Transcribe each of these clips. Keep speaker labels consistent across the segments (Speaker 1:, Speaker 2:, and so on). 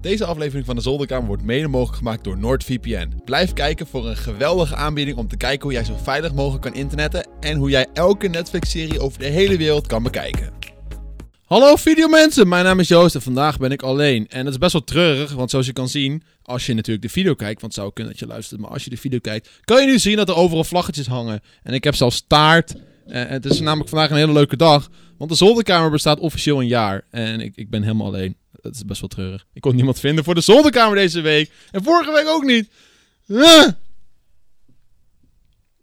Speaker 1: Deze aflevering van de Zolderkamer wordt mede mogelijk gemaakt door NordVPN. Blijf kijken voor een geweldige aanbieding om te kijken hoe jij zo veilig mogelijk kan internetten en hoe jij elke Netflix-serie over de hele wereld kan bekijken. Hallo videomensen, mijn naam is Joost en vandaag ben ik alleen. En dat is best wel treurig, want zoals je kan zien, als je natuurlijk de video kijkt, want het zou kunnen dat je luistert, maar als je de video kijkt, kan je nu zien dat er overal vlaggetjes hangen. En ik heb zelfs taart. Eh, het is namelijk vandaag een hele leuke dag, want de zolderkamer bestaat officieel een jaar. En ik, ik ben helemaal alleen. Dat is best wel treurig. Ik kon niemand vinden voor de zolderkamer deze week. En vorige week ook niet. Ah!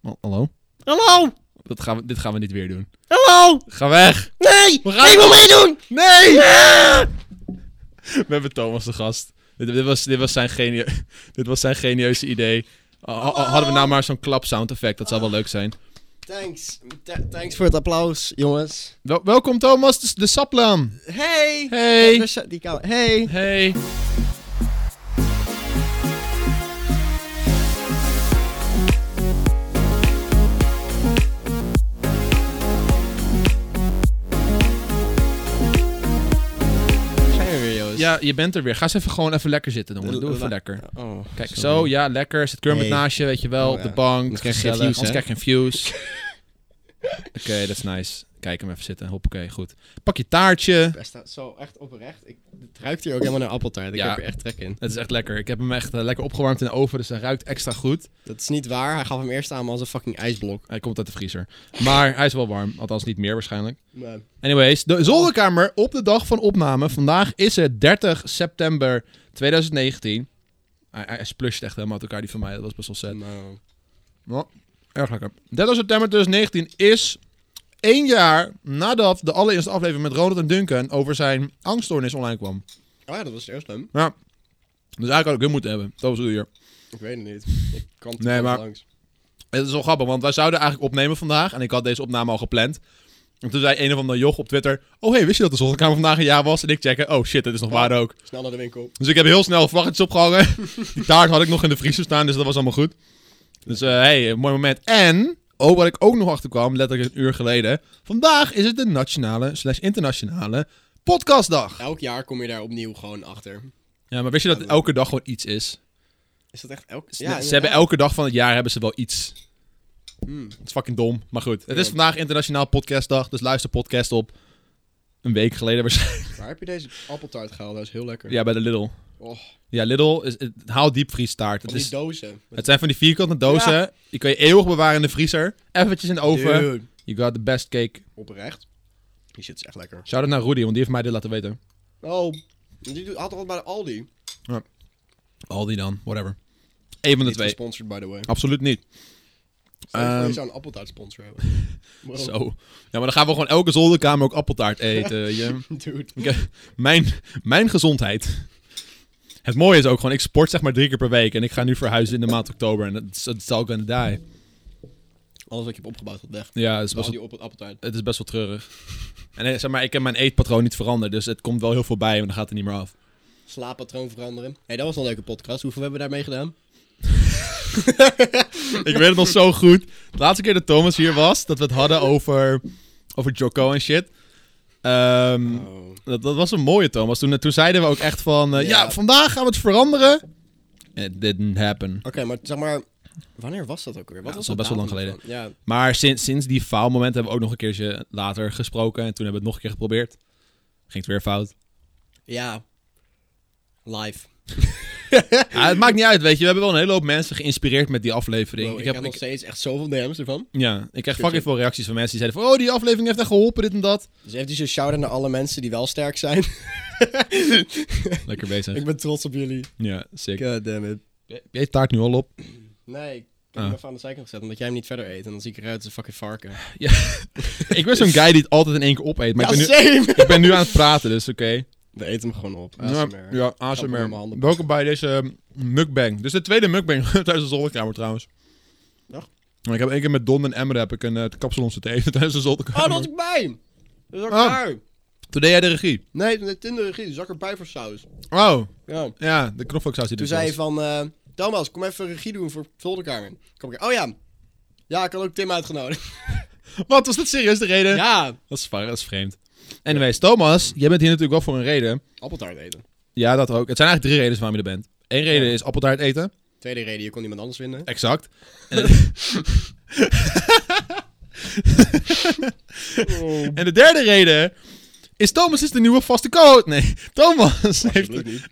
Speaker 1: Oh, hallo?
Speaker 2: Hallo!
Speaker 1: Dat gaan we, dit gaan we niet weer doen.
Speaker 2: Hallo!
Speaker 1: Ga weg!
Speaker 2: Nee!
Speaker 1: We gaan-
Speaker 2: Ik wil meedoen!
Speaker 1: Nee! We hebben Thomas de gast. Dit, dit was, dit, was zijn genie dit was zijn genieuze idee. Ha- ha- hadden we nou maar zo'n klap sound effect, dat zou wel leuk zijn.
Speaker 2: Thanks. Th- thanks voor het applaus, jongens.
Speaker 1: Wel- welkom Thomas, de, de saplaan.
Speaker 2: Hey!
Speaker 1: Hey.
Speaker 2: Ja, daar staat die kamer. Hey!
Speaker 1: Hey.
Speaker 2: Zijn we weer, Joost?
Speaker 1: Ja, je bent er weer. Ga eens even gewoon even lekker zitten, jongen. Doe even lekker.
Speaker 2: Oh,
Speaker 1: Kijk,
Speaker 2: sorry.
Speaker 1: zo, ja, lekker. Zit Kermit
Speaker 2: Nee.
Speaker 1: naast je, weet je wel,
Speaker 2: Oh,
Speaker 1: op de
Speaker 2: ja.
Speaker 1: bank.
Speaker 2: Anders krijg je
Speaker 1: gezellig.
Speaker 2: geen views,
Speaker 1: Anders
Speaker 2: hè?
Speaker 1: krijg je geen views. Oké, dat is nice. Kijk hem even zitten. Hoppakee, goed. Pak je taartje.
Speaker 2: Best wel- zo echt oprecht. Ik, het ruikt hier ook helemaal naar appeltaart. Ik
Speaker 1: Ja.
Speaker 2: heb er echt trek in.
Speaker 1: Het is echt lekker. Ik heb hem echt eh, lekker opgewarmd in de oven, dus hij ruikt extra goed.
Speaker 2: Dat is niet waar. Hij gaf hem eerst aan als een fucking ijsblok.
Speaker 1: Hij komt uit de vriezer. Maar hij is wel warm, althans niet meer waarschijnlijk.
Speaker 2: Maar-
Speaker 1: Anyways, de zolderkamer op de dag van opname. Vandaag is het 30 september 2019. Hij, hij hij splusht echt helemaal uit elkaar, die van mij. Dat was best wel sad.
Speaker 2: maar-
Speaker 1: Nou, erg lekker. 30 september 2019 is één jaar nadat de allereerste aflevering met Ronald en Duncan over zijn angststoornis online kwam.
Speaker 2: Oh ja, dat was heel slim.
Speaker 1: Ja. Dus eigenlijk had ik hem moeten hebben. Dat was het hier.
Speaker 2: Ik weet het niet. Ik kan het
Speaker 1: Nee,
Speaker 2: niet
Speaker 1: maar-
Speaker 2: langs.
Speaker 1: Het is wel grappig, want wij zouden eigenlijk opnemen vandaag. En ik had deze opname al gepland. En toen zei een of andere joch op Twitter... Oh, hey, wist je dat de zolderkamer vandaag een jaar was? En ik checken, oh shit, dit is nog waar ook.
Speaker 2: Snel naar de winkel.
Speaker 1: Dus ik heb heel snel vlaggetjes opgehangen. Die taart had ik nog in de vriezer staan, dus dat was allemaal goed. Dus hé, hey, een mooi moment. En, ook wat ik ook nog achterkwam, letterlijk een uur geleden. Vandaag is het de nationale slash internationale podcastdag.
Speaker 2: Elk jaar kom je daar opnieuw gewoon achter.
Speaker 1: Ja, maar wist je dat elke dag gewoon iets is?
Speaker 2: Is dat echt elk...
Speaker 1: Ze-
Speaker 2: Ja,
Speaker 1: ze hebben
Speaker 2: inderdaad.
Speaker 1: elke dag van het jaar hebben ze wel iets.
Speaker 2: Hmm.
Speaker 1: Het is fucking dom, maar goed. Het is
Speaker 2: Ja.
Speaker 1: vandaag internationaal podcastdag, dus luister podcast op. Een week geleden waarschijnlijk.
Speaker 2: Waar heb je deze appeltaart gehaald? Dat is heel lekker. Oh.
Speaker 1: Ja, bij de Lidl.
Speaker 2: Och.
Speaker 1: Ja, Lidl, is, het, haal diepvriestaart.
Speaker 2: Van
Speaker 1: Het
Speaker 2: die
Speaker 1: is
Speaker 2: dozen.
Speaker 1: Het zijn van die vierkante dozen. Die kun je eeuwig bewaren in de vriezer. Eventjes in de oven.
Speaker 2: Dude,
Speaker 1: You got the best cake.
Speaker 2: oprecht. Die shit is echt lekker.
Speaker 1: Shout-out naar Rudy, want die heeft mij dit laten weten.
Speaker 2: Oh, die doet- had altijd bij de Aldi.
Speaker 1: Aldi dan, whatever. Eén van de
Speaker 2: Niet
Speaker 1: twee.
Speaker 2: gesponsord, by the way.
Speaker 1: Absoluut niet.
Speaker 2: Stel je voor,
Speaker 1: Ehm,
Speaker 2: je zou een appeltaart sponsor hebben. Wow,
Speaker 1: Zo. Ja, maar dan gaan we gewoon elke zolderkamer ook appeltaart eten. weet je.
Speaker 2: Dude.
Speaker 1: Ik heb- mijn, mijn gezondheid. Het mooie is ook gewoon, ik sport zeg maar drie keer per week. En ik ga nu verhuizen in de maand oktober. En dat is all gonna die.
Speaker 2: Alles wat je hebt opgebouwd had weg.
Speaker 1: Ja, het is best
Speaker 2: Al
Speaker 1: wel,
Speaker 2: die op het appeltaart.
Speaker 1: het is best wel treurig. En eh, zeg maar, ik heb mijn eetpatroon niet veranderd. Dus het komt wel heel veel bij, maar dan gaat het niet meer af.
Speaker 2: Slaappatroon veranderen. Hé, hey, dat was een leuke podcast. Hoeveel hebben we daarmee gedaan?
Speaker 1: Ik weet het nog zo goed. De laatste keer dat Thomas hier was, dat we het hadden over, over Joko en shit. Ehm,
Speaker 2: Oh.
Speaker 1: dat, dat was een mooie, Thomas. Toen, toen zeiden we ook echt van, eh, ja.
Speaker 2: Ja.
Speaker 1: vandaag gaan we het veranderen. It didn't happen.
Speaker 2: Oké, maar zeg maar... Wanneer was dat ook weer? Wat
Speaker 1: Ja,
Speaker 2: was
Speaker 1: dat is
Speaker 2: de
Speaker 1: al best wel
Speaker 2: datum
Speaker 1: lang
Speaker 2: ervan? Ja,
Speaker 1: Maar sinds, sinds die faalmoment hebben we ook nog een keertje later gesproken. En toen hebben we het nog een keer geprobeerd. Ging het weer fout.
Speaker 2: ja. Live.
Speaker 1: Ja, het maakt niet uit, weet je. We hebben wel een hele hoop mensen geïnspireerd met die aflevering.
Speaker 2: Bro, ik, heb nog steeds echt zoveel DM's ervan.
Speaker 1: ja, ik krijg
Speaker 2: Shit,
Speaker 1: fucking
Speaker 2: shit.
Speaker 1: veel reacties van mensen die zeiden van... Oh, die aflevering heeft echt geholpen, dit en dat.
Speaker 2: Dus eventjes een shout-out naar alle mensen die wel sterk zijn.
Speaker 1: Lekker bezig.
Speaker 2: ik ben trots op jullie.
Speaker 1: Ja, sick.
Speaker 2: God damn it.
Speaker 1: Je eet taart nu al op.
Speaker 2: Nee, ik heb
Speaker 1: Ah.
Speaker 2: hem even aan de zijkant gezet, omdat jij hem niet verder eet. En dan zie ik eruit als een fucking varken.
Speaker 1: Ik ben zo'n guy die het altijd in één keer opeet. Maar
Speaker 2: ja,
Speaker 1: ik, ben nu,
Speaker 2: same!
Speaker 1: ik ben nu aan het praten, dus oké.
Speaker 2: We eten hem gewoon op.
Speaker 1: Nou,
Speaker 2: ASMR.
Speaker 1: Ja,
Speaker 2: Ik ga hem in mijn
Speaker 1: ASMR.
Speaker 2: handen
Speaker 1: Welkom bij deze eh, mukbang. Dus de tweede mukbang tijdens de zolderkamer trouwens.
Speaker 2: Dag.
Speaker 1: Ik heb één keer met Don en Emmer heb ik een eh kapsalon zitten eten tijdens de zolderkamer.
Speaker 2: Oh, dat was ik bij! Dat is ook
Speaker 1: Ah.
Speaker 2: waar.
Speaker 1: Toen deed jij de regie.
Speaker 2: Nee, de Tinder-regie, zak erbij voor saus.
Speaker 1: Oh,
Speaker 2: Ja.
Speaker 1: ja, de knoflooksaus die
Speaker 2: Toen
Speaker 1: er
Speaker 2: zei
Speaker 1: was.
Speaker 2: hij van, eh, Thomas, kom even regie doen voor Zolderkamer. Kom ik, oh ja. Ja, ik had ook Tim uitgenodigd.
Speaker 1: Wat, was dat serieus de reden?
Speaker 2: ja,
Speaker 1: Dat, is, var- dat is vreemd. Anyways, Thomas, jij bent hier natuurlijk wel voor een reden.
Speaker 2: appeltaart eten.
Speaker 1: Ja, dat ook. Het zijn eigenlijk drie redenen waarom je er bent. Eén reden
Speaker 2: Ja.
Speaker 1: is appeltaart eten.
Speaker 2: Tweede reden, je kon iemand anders vinden.
Speaker 1: Exact. En de derde reden is Thomas is de nieuwe vaste co Nee, Thomas heeft
Speaker 2: Alsjeblieft niet.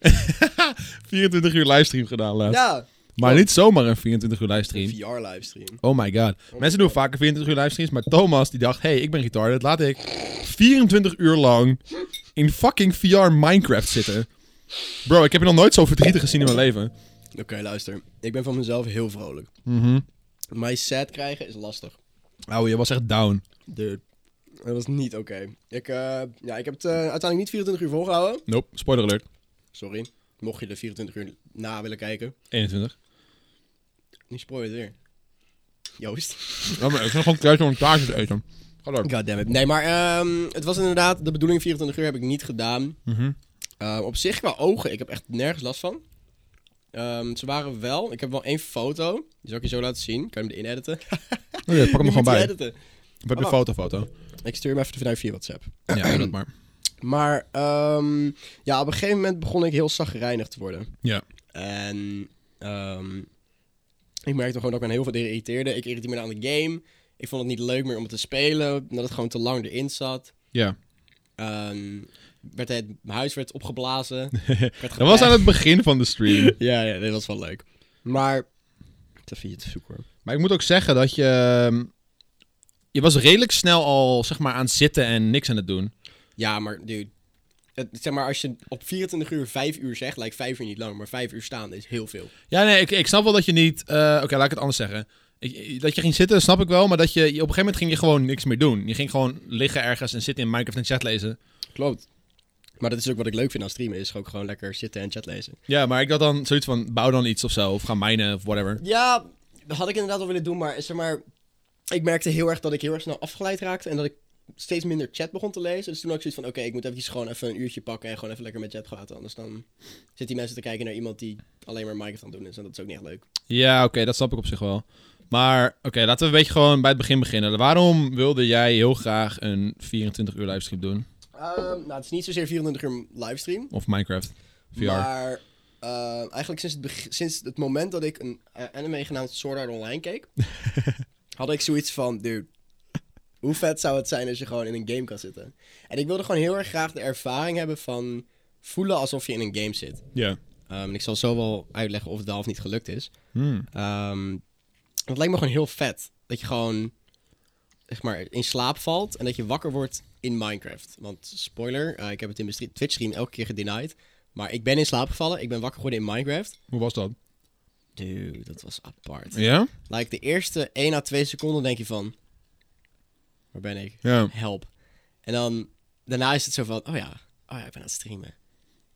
Speaker 1: 24 uur livestream gedaan laatst.
Speaker 2: Ja,
Speaker 1: Maar niet zomaar een 24 uur livestream.
Speaker 2: VR-livestream.
Speaker 1: Oh my god. Mensen doen vaker 24 uur livestreams, maar Thomas die dacht, hey, ik ben retarded, laat ik 24 uur lang in fucking VR Minecraft zitten. Bro, ik heb je nog nooit zo verdrietig gezien in mijn leven.
Speaker 2: Oké, luister. Ik ben van mezelf heel vrolijk.
Speaker 1: Mhm.
Speaker 2: Mij sad krijgen is lastig.
Speaker 1: Ouwe, Oh, je was echt down.
Speaker 2: Dude. Dat was niet oké. Ik, eh, ja, ik heb het eh, uiteindelijk niet 24 uur volgehouden.
Speaker 1: Nope, spoiler alert.
Speaker 2: Sorry. Mocht je de 24 uur na willen kijken.
Speaker 1: 21.
Speaker 2: Nu spoor je het weer. Joost.
Speaker 1: Ja, maar ik ben gewoon thuis om een taartje te eten. Ga door.
Speaker 2: Goddammit. Nee, maar ehm, het was inderdaad... De bedoeling 24 uur heb ik niet gedaan.
Speaker 1: Mhm.
Speaker 2: Eh, op zich qua ogen, ik heb echt nergens last van. Ehm, ze waren wel... Ik heb wel één foto. Die zal ik je zo laten zien. Kan je hem erin editen?
Speaker 1: Oh ja, pak hem er
Speaker 2: Die
Speaker 1: gewoon
Speaker 2: moet je
Speaker 1: bij.
Speaker 2: editen.
Speaker 1: We hebben de foto, foto.
Speaker 2: Ik stuur hem even vanuit via WhatsApp.
Speaker 1: Ja, dat maar.
Speaker 2: Maar ehm, ja, op een gegeven moment begon ik heel zagrijnig te worden.
Speaker 1: Ja.
Speaker 2: En ehm, ik merkte gewoon dat ik me aan heel veel dingen irriteerde. Ik irriteerde me aan de game. Ik vond het niet leuk meer om het te spelen. Omdat het gewoon te lang erin zat.
Speaker 1: Ja.
Speaker 2: Ehm, werd het, mijn huis werd opgeblazen.
Speaker 1: Dat was aan het begin van de stream.
Speaker 2: Ja, ja, dit was wel leuk. Maar... Ik zat via te zoeken hoor.
Speaker 1: Maar ik moet ook zeggen dat je... ehm, Je was redelijk snel al, zeg maar, aan het zitten en niks aan het doen.
Speaker 2: Ja, maar dude. Het, zeg maar, als je op 24 uur 5 uur zegt, lijkt 5 uur niet lang. Maar 5 uur staan is heel veel.
Speaker 1: Ja, nee, ik, ik snap wel dat je niet... eh, Oké, laat ik het anders zeggen. Ik- dat je ging zitten, snap ik wel. Maar dat je, je op een gegeven moment ging je gewoon niks meer doen. Je ging gewoon liggen ergens en zitten in Minecraft en chat lezen.
Speaker 2: Klopt. Maar dat is ook wat ik leuk vind aan streamen, is ook gewoon lekker zitten en chat lezen.
Speaker 1: Ja, maar ik dacht dan zoiets van, bouw dan iets of zo. Of ga minen of whatever.
Speaker 2: Ja, dat had ik inderdaad wel willen doen, maar zeg maar, ik merkte heel erg dat ik heel erg snel afgeleid raakte en dat ik steeds minder chat begon te lezen. Dus toen had ik zoiets van, oké, ik moet eventjes gewoon even een uurtje pakken en gewoon even lekker met chat praten. Anders dan zitten die mensen te kijken naar iemand die alleen maar Minecraft aan het doen is en dat is ook niet echt leuk.
Speaker 1: Ja, oké, dat snap ik op zich wel. Maar oké, laten we een beetje gewoon bij het begin beginnen. Waarom wilde jij heel graag een 24 uur livestream doen?
Speaker 2: Ehm, nou, het is niet zozeer 24 uur livestream,
Speaker 1: Of Minecraft? VR?
Speaker 2: maar eh, eigenlijk sinds het, beg- sinds het moment dat ik een eh, anime genaamd Sword Art Online keek, had ik zoiets van, dude, hoe vet zou het zijn als je gewoon in een game kan zitten? En ik wilde gewoon heel erg graag de ervaring hebben van voelen alsof je in een game zit.
Speaker 1: Ja.
Speaker 2: Ehm, en ik zal zo wel uitleggen of het wel of niet gelukt is.
Speaker 1: Hmm.
Speaker 2: Ehm dat lijkt me gewoon heel vet. Dat je gewoon zeg maar, in slaap valt en dat je wakker wordt in Minecraft. Want spoiler, eh, ik heb het in mijn stre- Twitch stream elke keer gedenied. Maar ik ben in slaap gevallen, ik ben wakker geworden in Minecraft.
Speaker 1: Hoe was dat?
Speaker 2: Dude, dat was apart.
Speaker 1: Ja?
Speaker 2: Like de eerste 1 à 2 seconden denk je van... Waar ben ik?
Speaker 1: Ja.
Speaker 2: Help. En dan daarna is het zo van... Oh ja, oh ja, ik ben aan het streamen.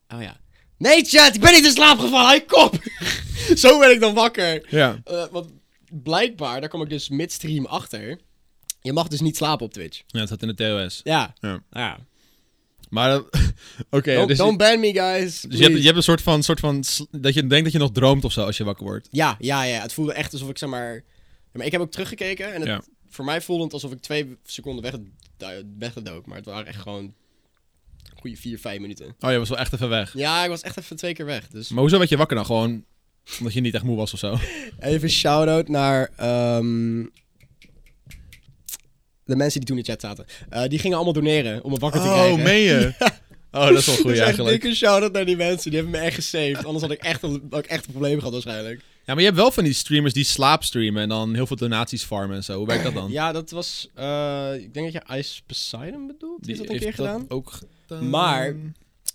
Speaker 2: Oh ja. Nee chat, ik ben niet in slaap gevallen, hou je kop! zo ben ik dan wakker.
Speaker 1: Ja.
Speaker 2: Eh, want blijkbaar, daar kom ik dus midstream achter. Je mag dus niet slapen op Twitch.
Speaker 1: Ja, het zat in de TOS.
Speaker 2: Ja.
Speaker 1: Ja.
Speaker 2: ja.
Speaker 1: Maar, dat- oké.
Speaker 2: Don't,
Speaker 1: dus
Speaker 2: don't ban me,
Speaker 1: dus
Speaker 2: guys.
Speaker 1: je, hebt, je
Speaker 2: please.
Speaker 1: hebt een soort van, soort van, sl- dat je denkt dat je nog droomt of zo als je wakker wordt.
Speaker 2: Ja, ja, ja. Het voelde echt alsof ik, zeg maar... ja, maar ik heb ook teruggekeken en het,
Speaker 1: Ja.
Speaker 2: voor mij voelde het alsof ik twee seconden weggedu- weggedook. Maar het waren echt gewoon goede vier, vijf minuten.
Speaker 1: Oh, je was wel echt even weg.
Speaker 2: Ja, ik was echt even twee keer weg. Dus
Speaker 1: Maar hoezo werd je wakker dan? Gewoon omdat je niet echt moe was of zo?
Speaker 2: even shout-out naar... ehm, de mensen die toen in de chat zaten. Eh, die gingen allemaal doneren om me wakker te krijgen.
Speaker 1: je? Oh, dat is wel goed
Speaker 2: Dus echt
Speaker 1: eigenlijk.
Speaker 2: dikke shout-out naar die mensen. Die hebben me echt gesaved. Anders had ik echt een, had ik echt een probleem gehad waarschijnlijk.
Speaker 1: Ja, maar je hebt wel van die streamers die slaapstreamen en dan heel veel donaties farmen en zo. Hoe werkt dat dan?
Speaker 2: Ja, dat was... eh, ik denk dat je Ice Poseidon bedoelt. Die is dat een keer
Speaker 1: heeft
Speaker 2: gedaan?
Speaker 1: Dat ook gedaan.
Speaker 2: Maar-
Speaker 1: Oké.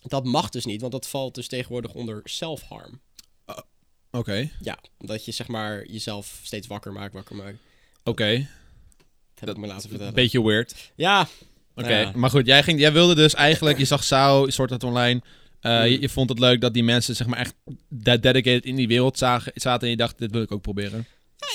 Speaker 2: Dat mag dus niet, want dat valt dus tegenwoordig onder self-harm.
Speaker 1: Oké.
Speaker 2: Ja, dat je zeg maar jezelf steeds wakker maakt, wakker maakt. Dat heb ik me laten vertellen.
Speaker 1: Beetje weird.
Speaker 2: Ja,
Speaker 1: Oké.
Speaker 2: Ja.
Speaker 1: Maar goed, jij, ging, jij wilde dus eigenlijk, je zag Sao, soort dat online. eh, je, je vond het leuk dat die mensen zeg maar echt de- dedicated in die wereld zagen, zaten en je dacht, dit wil ik ook proberen.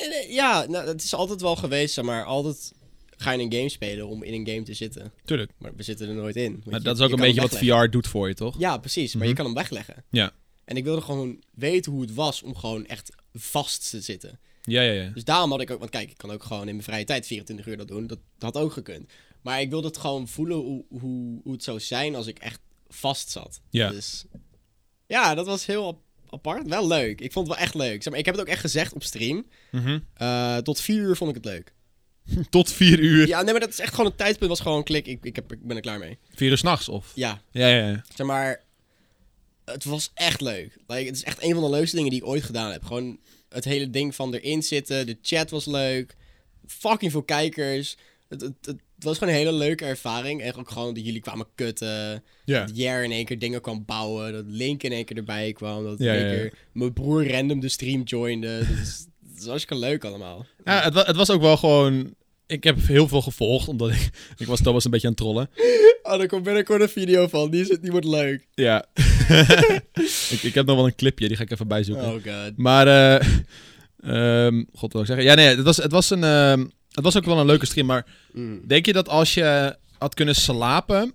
Speaker 2: ja, nee, ja nou, het is altijd wel geweest, zeg maar. Altijd ga je een game spelen om in een game te zitten.
Speaker 1: Tuurlijk.
Speaker 2: Maar we zitten er nooit in. want
Speaker 1: Maar
Speaker 2: je-
Speaker 1: dat is ook
Speaker 2: je
Speaker 1: een
Speaker 2: kan
Speaker 1: beetje
Speaker 2: hem
Speaker 1: wat Mhm.
Speaker 2: wegleggen.
Speaker 1: VR doet voor je, toch?
Speaker 2: Ja, precies. Maar je kan hem wegleggen.
Speaker 1: Ja.
Speaker 2: En ik wilde gewoon weten hoe het was om gewoon echt vast te zitten.
Speaker 1: Ja, ja, ja.
Speaker 2: Dus daarom had ik ook, want kijk, ik kan ook gewoon in mijn vrije tijd 24 uur dat doen. Dat had ook gekund. Maar ik wilde het gewoon voelen hoe, hoe, hoe het zou zijn als ik echt vast zat.
Speaker 1: Ja.
Speaker 2: Dus Ja, dat was heel ap- apart. Wel leuk. Ik vond het wel echt leuk. Zeg maar, ik heb het ook echt gezegd op stream.
Speaker 1: Mhm.
Speaker 2: Eh, tot vier uur vond ik het leuk.
Speaker 1: Tot vier uur.
Speaker 2: Ja, nee, maar dat is echt gewoon een tijdpunt. was gewoon klik. Ik, ik, heb, ik ben er klaar mee.
Speaker 1: Vier uur s'nachts of?
Speaker 2: Ja,
Speaker 1: Ja, ja, ja.
Speaker 2: zeg maar. Het was echt leuk. Like, het is echt een van de leukste dingen die ik ooit gedaan heb. Gewoon het hele ding van erin zitten. De chat was leuk. Fucking veel kijkers. Het, het, het was gewoon een hele leuke ervaring. En ook gewoon dat jullie kwamen kutten.
Speaker 1: Ja.
Speaker 2: Dat Jer in één keer dingen kwam bouwen. Dat Link in één keer erbij kwam. Dat
Speaker 1: Ja,
Speaker 2: in één
Speaker 1: ja, ja.
Speaker 2: keer mijn broer random de stream joinde. Dat is, dat is hartstikke leuk allemaal.
Speaker 1: Ja, het, wa- het was ook wel gewoon... Ik heb heel veel gevolgd, omdat ik... Ik was Thomas een beetje aan het trollen.
Speaker 2: Oh, er komt binnenkort een video van. Die, is, die wordt leuk.
Speaker 1: Ja. ik, ik heb nog wel een clipje, die ga ik even bijzoeken.
Speaker 2: Oh god.
Speaker 1: Maar, eh ehm, god, wat wil ik zeggen? Ja, nee, het was, het was een... ehm, het was ook wel een leuke stream, maar
Speaker 2: Mm,
Speaker 1: denk je dat als je had kunnen slapen,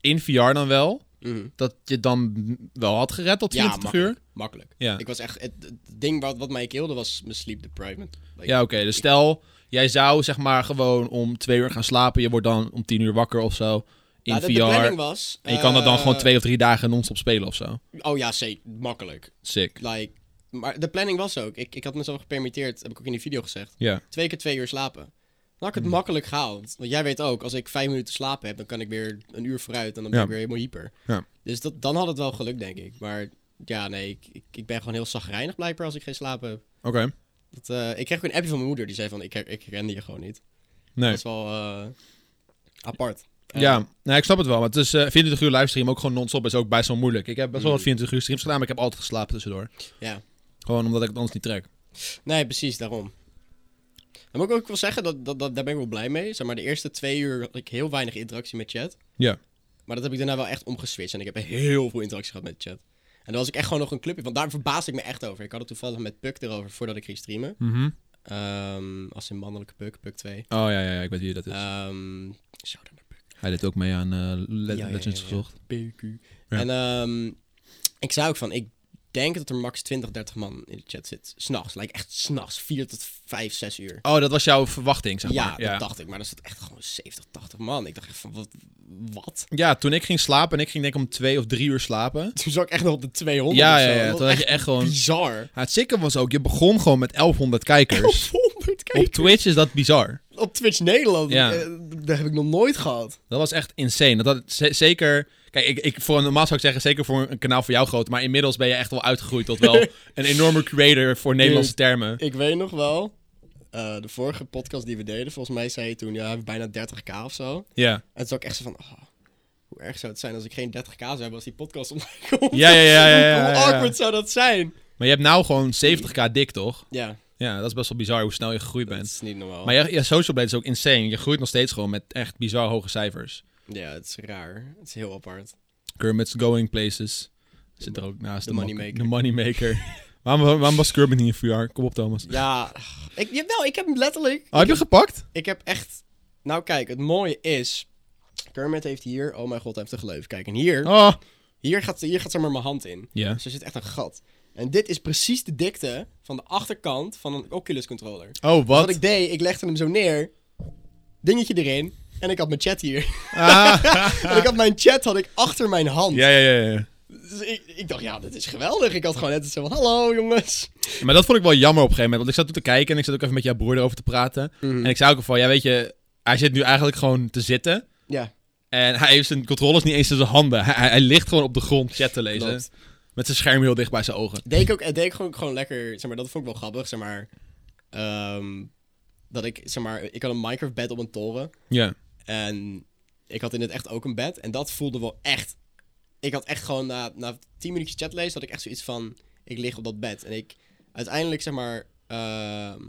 Speaker 1: in VR dan wel,
Speaker 2: mm.
Speaker 1: dat je dan wel had gered tot 24 uur?
Speaker 2: makkelijk. Makkelijk.
Speaker 1: Ja,
Speaker 2: Ik was echt... Het, het ding wat, wat mij kilde was mijn sleep deprivement. Like,
Speaker 1: ja oké. dus stel, jij zou zeg maar gewoon om twee uur gaan slapen. Je wordt dan om tien uur wakker of zo. In
Speaker 2: nou, de-
Speaker 1: VR.
Speaker 2: De planning was...
Speaker 1: en je kan dat dan
Speaker 2: eh,
Speaker 1: gewoon twee of drie dagen non-stop spelen of zo.
Speaker 2: Oh ja, zeker. Makkelijk.
Speaker 1: Sick.
Speaker 2: Like... Maar de planning was ook. Ik, ik had mezelf gepermitteerd, heb ik ook in die video gezegd.
Speaker 1: Ja.
Speaker 2: Twee keer twee uur slapen. Dan had ik het
Speaker 1: Hmm.
Speaker 2: makkelijk gehaald. Want jij weet ook, als ik vijf minuten slapen heb, dan kan ik weer een uur vooruit en dan ben
Speaker 1: Ja.
Speaker 2: ik weer helemaal hyper.
Speaker 1: Ja.
Speaker 2: Dus dat, dan had het wel geluk, denk ik. Maar ja, nee, ik, ik, ik ben gewoon heel zagrijnig blijkbaar als ik geen slaap heb.
Speaker 1: Oké.
Speaker 2: Dat, eh, ik kreeg ook een appje van mijn moeder die zei van, ik, her- ik herkende je gewoon niet.
Speaker 1: Nee.
Speaker 2: Dat is wel eh, apart. Eh,
Speaker 1: Ja, nou, ik snap het wel. Maar het is eh 24 uur livestream, ook gewoon non-stop, is ook best wel moeilijk. Ik heb best wel wat
Speaker 2: Mm.
Speaker 1: 24 uur streams gedaan, maar ik heb altijd geslapen tussendoor.
Speaker 2: Ja.
Speaker 1: Gewoon omdat ik het anders niet trek.
Speaker 2: Nee, precies, daarom. Dan moet ik ook wel zeggen, dat, dat, dat, daar ben ik wel blij mee. Zeg maar, de eerste twee uur had ik heel weinig interactie met chat.
Speaker 1: Ja.
Speaker 2: Maar dat heb ik daarna wel echt omgeswitcht. En ik heb heel veel interactie gehad met chat. En dan was ik echt gewoon nog een clubje. Want daar verbaasde ik me echt over. Ik had het toevallig met Puk erover voordat ik ging streamen. Ehm, als in mannelijke Puk, Puk 2.
Speaker 1: Oh ja, ja, ja, ik weet wie dat is.
Speaker 2: Ehm zo dan naar Puk.
Speaker 1: Hij deed ook mee aan eh, Le-
Speaker 2: Ja, ja,
Speaker 1: Legends
Speaker 2: ja, ja.
Speaker 1: gezocht.
Speaker 2: PQ.
Speaker 1: Ja.
Speaker 2: En ehm, ik zei ook van, ik denk dat er max 20, 30 man in de chat zit. S'nachts, like echt s'nachts. 4 tot 5, 6 uur.
Speaker 1: Oh, dat was jouw verwachting, zeg
Speaker 2: ja,
Speaker 1: maar.
Speaker 2: dat dacht ik. Maar er zat echt gewoon 70, 80 man. Ik dacht echt van, wat? wat?
Speaker 1: Ja, toen ik ging slapen en ik ging denk ik om twee of drie uur slapen.
Speaker 2: Toen zat ik echt nog op de 200
Speaker 1: Ja,
Speaker 2: of zo.
Speaker 1: ja, ja.
Speaker 2: Oh, Dat
Speaker 1: Toen
Speaker 2: was
Speaker 1: had
Speaker 2: echt
Speaker 1: je echt gewoon...
Speaker 2: bizar.
Speaker 1: Ja, het sikke was ook, je begon gewoon met 1100 kijkers.
Speaker 2: 100
Speaker 1: Op
Speaker 2: kijkers.
Speaker 1: Twitch is dat bizar.
Speaker 2: Op Twitch Nederland,
Speaker 1: Ja.
Speaker 2: eh, dat heb ik nog nooit gehad.
Speaker 1: Dat was echt insane. Dat had, ze- zeker, kijk, ik, ik, voor, normaal zou ik zeggen, zeker voor een kanaal voor jou groot. Maar inmiddels ben je echt wel uitgegroeid tot wel een enorme creator voor Nederlandse termen.
Speaker 2: Ik weet nog wel, eh, de vorige podcast die we deden, volgens mij zei je toen, ja, we hebben bijna 30k of zo.
Speaker 1: Ja,
Speaker 2: En toen zat ik echt zo van, oh, hoe erg zou het zijn als ik geen 30k zou hebben als die podcast online komt.
Speaker 1: ja, ja, ja. ja, ja, ja,
Speaker 2: Hoe
Speaker 1: ja.
Speaker 2: awkward zou dat zijn?
Speaker 1: Maar je hebt nou gewoon 70k dik, toch?
Speaker 2: Ja,
Speaker 1: Ja, dat is best wel bizar hoe snel je gegroeid
Speaker 2: dat
Speaker 1: bent.
Speaker 2: is niet normaal.
Speaker 1: Maar je, je social blade is ook insane. Je groeit nog steeds gewoon met echt bizar hoge cijfers.
Speaker 2: Ja, het is raar. Het is heel apart.
Speaker 1: Kermit's Going Places zit er ook naast.
Speaker 2: de
Speaker 1: mak-
Speaker 2: moneymaker.
Speaker 1: De moneymaker. waarom, waarom was Kermit niet in VR? Kom op, Thomas.
Speaker 2: Ja, ik, jawel, ik heb hem letterlijk.
Speaker 1: Oh, heb je gepakt?
Speaker 2: Ik heb echt... Nou kijk, het mooie is... Kermit heeft hier... Oh mijn god, hij heeft een gleuf. Kijk, en hier...
Speaker 1: Oh.
Speaker 2: Hier gaat, hier gaat zeg maar mijn hand in.
Speaker 1: Ja.
Speaker 2: Dus er zit echt een gat. En dit is precies de dikte van de achterkant van een Oculus controller. Wat,
Speaker 1: Oh, wat?
Speaker 2: ik deed, ik legde hem zo neer. Dingetje erin. En ik had mijn chat hier. en ik had mijn chat had ik achter mijn hand.
Speaker 1: Ah. Ja, ja, ja, ja.
Speaker 2: Dus ik, ik dacht, ja, dit is geweldig. Ik had gewoon net zo van, hallo jongens.
Speaker 1: Maar dat vond ik wel jammer op een gegeven moment. Want ik zat toen te kijken en ik zat ook even met jouw broer erover te praten.
Speaker 2: Mhm.
Speaker 1: En ik zei ook van, ja weet je, hij zit nu eigenlijk gewoon te zitten.
Speaker 2: Ja,
Speaker 1: En hij heeft zijn controllers niet eens in zijn handen. Hij, hij, hij ligt gewoon op de grond chat te lezen.
Speaker 2: klopt.
Speaker 1: Met zijn scherm heel dicht bij zijn ogen.
Speaker 2: Deed ik ook, eh, deed ik gewoon, gewoon lekker, zeg maar, dat vond ik wel grappig, zeg maar. Ehm, dat ik, zeg maar, ik had een Minecraft bed op een toren.
Speaker 1: Ja.
Speaker 2: En ik had in het echt ook een bed. En dat voelde wel echt. Ik had echt gewoon na, na 10 minuutjes chatlezen. had ik echt zoiets van. Ik lig op dat bed. En ik. Uiteindelijk zeg maar. ehm,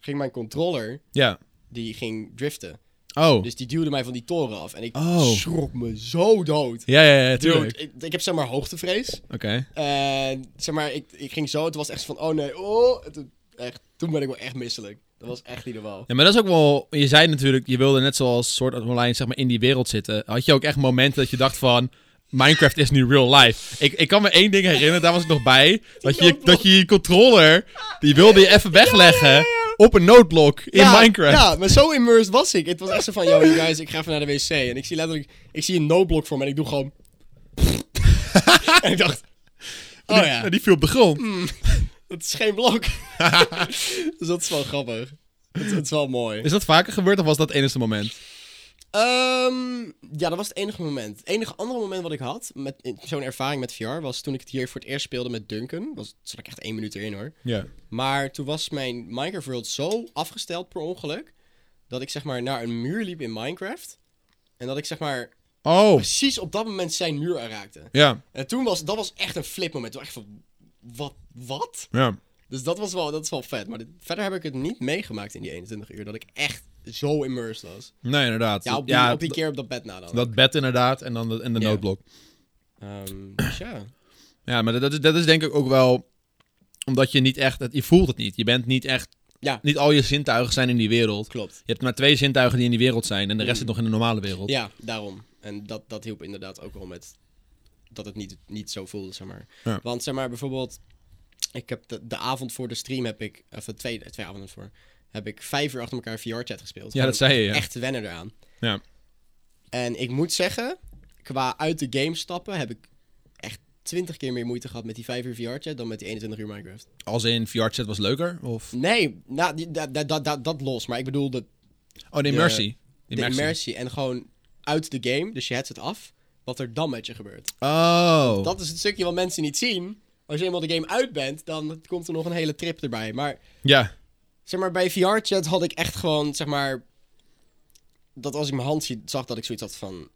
Speaker 2: ging mijn controller.
Speaker 1: Ja.
Speaker 2: Die ging driften.
Speaker 1: Oh.
Speaker 2: Dus die duwde mij van die toren af. En ik
Speaker 1: Oh.
Speaker 2: schrok me zo dood.
Speaker 1: Ja, ja, ja, tuurlijk.
Speaker 2: Dude, ik, ik heb zeg maar hoogtevrees.
Speaker 1: Oké.
Speaker 2: En zeg maar, ik, ik ging zo. Het was echt van. Oh nee. Oh. En toen, echt, toen ben ik wel echt misselijk. Dat was echt niet normaal.
Speaker 1: Ja, maar dat is ook wel... Je zei natuurlijk, je wilde net zoals soort online zeg maar in die wereld zitten. Had je ook echt momenten dat je dacht van... Minecraft is nu real life. Ik, ik kan me één ding herinneren, daar was ik nog bij. Dat je
Speaker 2: noodblok.
Speaker 1: dat je, je controller, die wilde je even wegleggen op een noodblok in
Speaker 2: ja,
Speaker 1: Minecraft.
Speaker 2: Ja, maar zo immersed was ik. Het was echt zo van, yo, you guys, ik ga even naar de wc. En ik zie letterlijk, ik zie een no-blok voor me en ik doe gewoon... en ik dacht, Oh
Speaker 1: die,
Speaker 2: ja.
Speaker 1: nou, die viel op de grond.
Speaker 2: Dat is geen blok. dus dat is wel grappig. Dat, dat is wel mooi.
Speaker 1: Is dat vaker gebeurd of was dat het enige moment?
Speaker 2: Ehm, ja, dat was het enige moment. Het enige andere moment wat ik had met in- zo'n ervaring met VR was toen ik het hier voor het eerst speelde met Duncan. Was, zat ik echt één minuut erin hoor.
Speaker 1: Ja.
Speaker 2: Maar toen was mijn Minecraft World zo afgesteld per ongeluk. Dat ik zeg maar naar een muur liep in Minecraft. En dat ik zeg maar
Speaker 1: Oh,
Speaker 2: precies op dat moment zijn muur aanraakte.
Speaker 1: ja.
Speaker 2: En toen was dat was echt een flipmoment. Toen was echt van, wat? Wat?
Speaker 1: ja.
Speaker 2: Dus dat was wel, dat is wel vet. Maar dit- verder heb ik het niet meegemaakt in die 21 uur. Dat ik echt zo immersed was.
Speaker 1: Nee, inderdaad.
Speaker 2: Ja, op die, op die keer op dat bed na dan.
Speaker 1: d- dat bed inderdaad en dan de, en de
Speaker 2: Ja.
Speaker 1: noodblok.
Speaker 2: Ehm, dus ja.
Speaker 1: Ja, maar dat is, dat is denk ik ook wel omdat je niet echt, je voelt het niet. Je bent niet echt,
Speaker 2: Ja.
Speaker 1: niet al je zintuigen zijn in die wereld.
Speaker 2: Klopt. Mm.
Speaker 1: Je hebt maar twee zintuigen die in die wereld zijn en de rest zit nog in de normale wereld.
Speaker 2: Ja, daarom. En dat, dat hielp inderdaad ook wel met dat het niet, niet zo voelde, zeg maar.
Speaker 1: Ja.
Speaker 2: Want zeg maar, bijvoorbeeld, ik heb de, de avond voor de stream heb ik, of de twee, twee avonden voor, heb ik vijf uur achter elkaar VR-chat gespeeld.
Speaker 1: Ja, dat
Speaker 2: Gewoon
Speaker 1: zei je, ja.
Speaker 2: Echt wennen eraan.
Speaker 1: Ja.
Speaker 2: En ik moet zeggen, qua uit de game stappen heb ik echt twintig keer meer moeite gehad met die vijf uur VR-chat dan met die 21 uur Minecraft.
Speaker 1: Als in VR-chat was leuker? Of...
Speaker 2: Nee, nou, die- dat dat dat- dat los. Maar ik bedoel, de
Speaker 1: Oh, de immersie. De
Speaker 2: de immersie en gewoon uit de game, dus je headset af, wat er dan met je gebeurt.
Speaker 1: Oh.
Speaker 2: Dat is het stukje wat mensen niet zien. Als je eenmaal de game uit bent, dan komt er nog een hele trip erbij. Maar
Speaker 1: Ja.
Speaker 2: zeg maar, bij VR-chat had ik echt gewoon, zeg maar, dat als ik mijn hand zie, zag dat ik zoiets had van,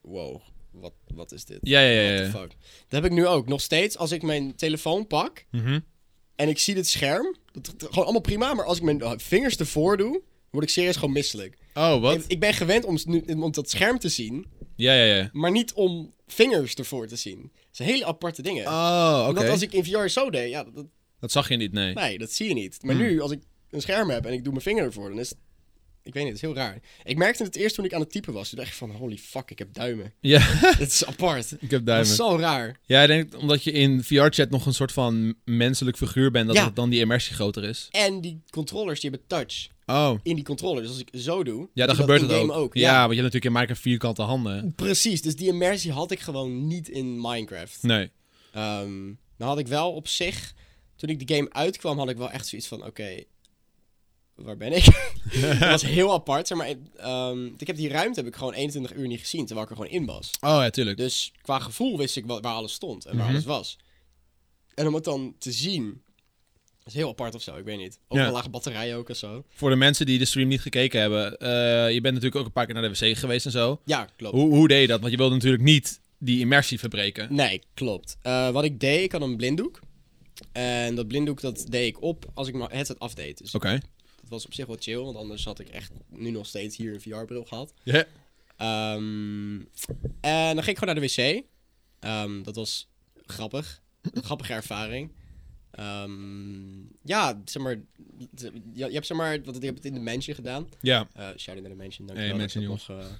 Speaker 2: wow, wat, wat is dit?
Speaker 1: Ja, ja, ja,
Speaker 2: What the
Speaker 1: ja.
Speaker 2: fuck? Dat heb ik nu ook. Nog steeds, als ik mijn telefoon pak
Speaker 1: Mhm.
Speaker 2: en ik zie dit scherm, dat, dat- gewoon allemaal prima, maar als ik mijn eh, vingers ervoor doe, word ik serieus gewoon misselijk.
Speaker 1: Oh, wat?
Speaker 2: Ik, ik ben gewend om, s- nu, om dat scherm te zien,
Speaker 1: Ja, ja, ja.
Speaker 2: maar niet om vingers ervoor te zien. Dat zijn hele aparte dingen.
Speaker 1: Oh, oké.
Speaker 2: Omdat als ik in VR zo deed, ja, dat, dat-
Speaker 1: Dat zag je niet, nee.
Speaker 2: nee, dat zie je niet. Maar
Speaker 1: Hmm.
Speaker 2: nu, als ik een scherm heb en ik doe mijn vinger ervoor, dan is het... Ik weet niet, het is heel raar. Ik merkte het eerst toen ik aan het typen was. Toen dacht ik van, holy fuck, ik heb duimen.
Speaker 1: Ja,
Speaker 2: Dit is apart.
Speaker 1: ik heb
Speaker 2: Dat
Speaker 1: duimen.
Speaker 2: is zo raar.
Speaker 1: Ja, ik denk omdat je in VR-chat nog een soort van menselijk figuur bent, dat
Speaker 2: Ja.
Speaker 1: het dan die immersie groter is.
Speaker 2: En die controllers, die hebben touch
Speaker 1: Oh.
Speaker 2: in die controller. Dus als ik zo doe...
Speaker 1: Ja, dan
Speaker 2: doe
Speaker 1: gebeurt
Speaker 2: in
Speaker 1: het ook.
Speaker 2: game
Speaker 1: Ja,
Speaker 2: Ja.
Speaker 1: want je hebt natuurlijk in Minecraft vierkante handen.
Speaker 2: precies. Dus die immersie had ik gewoon niet in Minecraft.
Speaker 1: Nee.
Speaker 2: Ehm dan had ik wel op zich, toen ik de game uitkwam, had ik wel echt zoiets van: oké, waar ben ik? dat was heel apart. Zeg maar, ehm, ik heb die ruimte heb ik gewoon 21 uur niet gezien terwijl ik er gewoon in was.
Speaker 1: Oh ja, tuurlijk.
Speaker 2: Dus qua gevoel wist ik wa- waar alles stond en waar
Speaker 1: Mhm.
Speaker 2: alles was. En om het dan te zien, is heel apart of zo, ik weet niet. Ook
Speaker 1: Ja.
Speaker 2: een lage batterij ook of zo.
Speaker 1: Voor de mensen die de stream niet gekeken hebben, eh, je bent natuurlijk ook een paar keer naar de wc geweest en zo.
Speaker 2: Ja, klopt.
Speaker 1: Hoe, hoe deed je dat? Want je wilde natuurlijk niet die immersie verbreken.
Speaker 2: Nee, klopt. Eh, wat ik deed, ik had een blinddoek. En dat blinddoek dat deed ik op als ik mijn headset afdeed. Dus
Speaker 1: Oké.
Speaker 2: Dat was op zich wel chill, want anders had ik echt nu nog steeds hier een VR-bril gehad.
Speaker 1: Ja.
Speaker 2: Ehm, en dan ging ik gewoon naar de wc. Ehm, dat was grappig. Een grappige ervaring. Ehm, ja, zeg maar, je, je hebt zeg maar, want ik heb het in de Mansion gedaan.
Speaker 1: Ja.
Speaker 2: Eh shout out naar de Mansion,
Speaker 1: Hey,
Speaker 2: dankjewel. dat ik
Speaker 1: Mansion,
Speaker 2: dat nog, eh,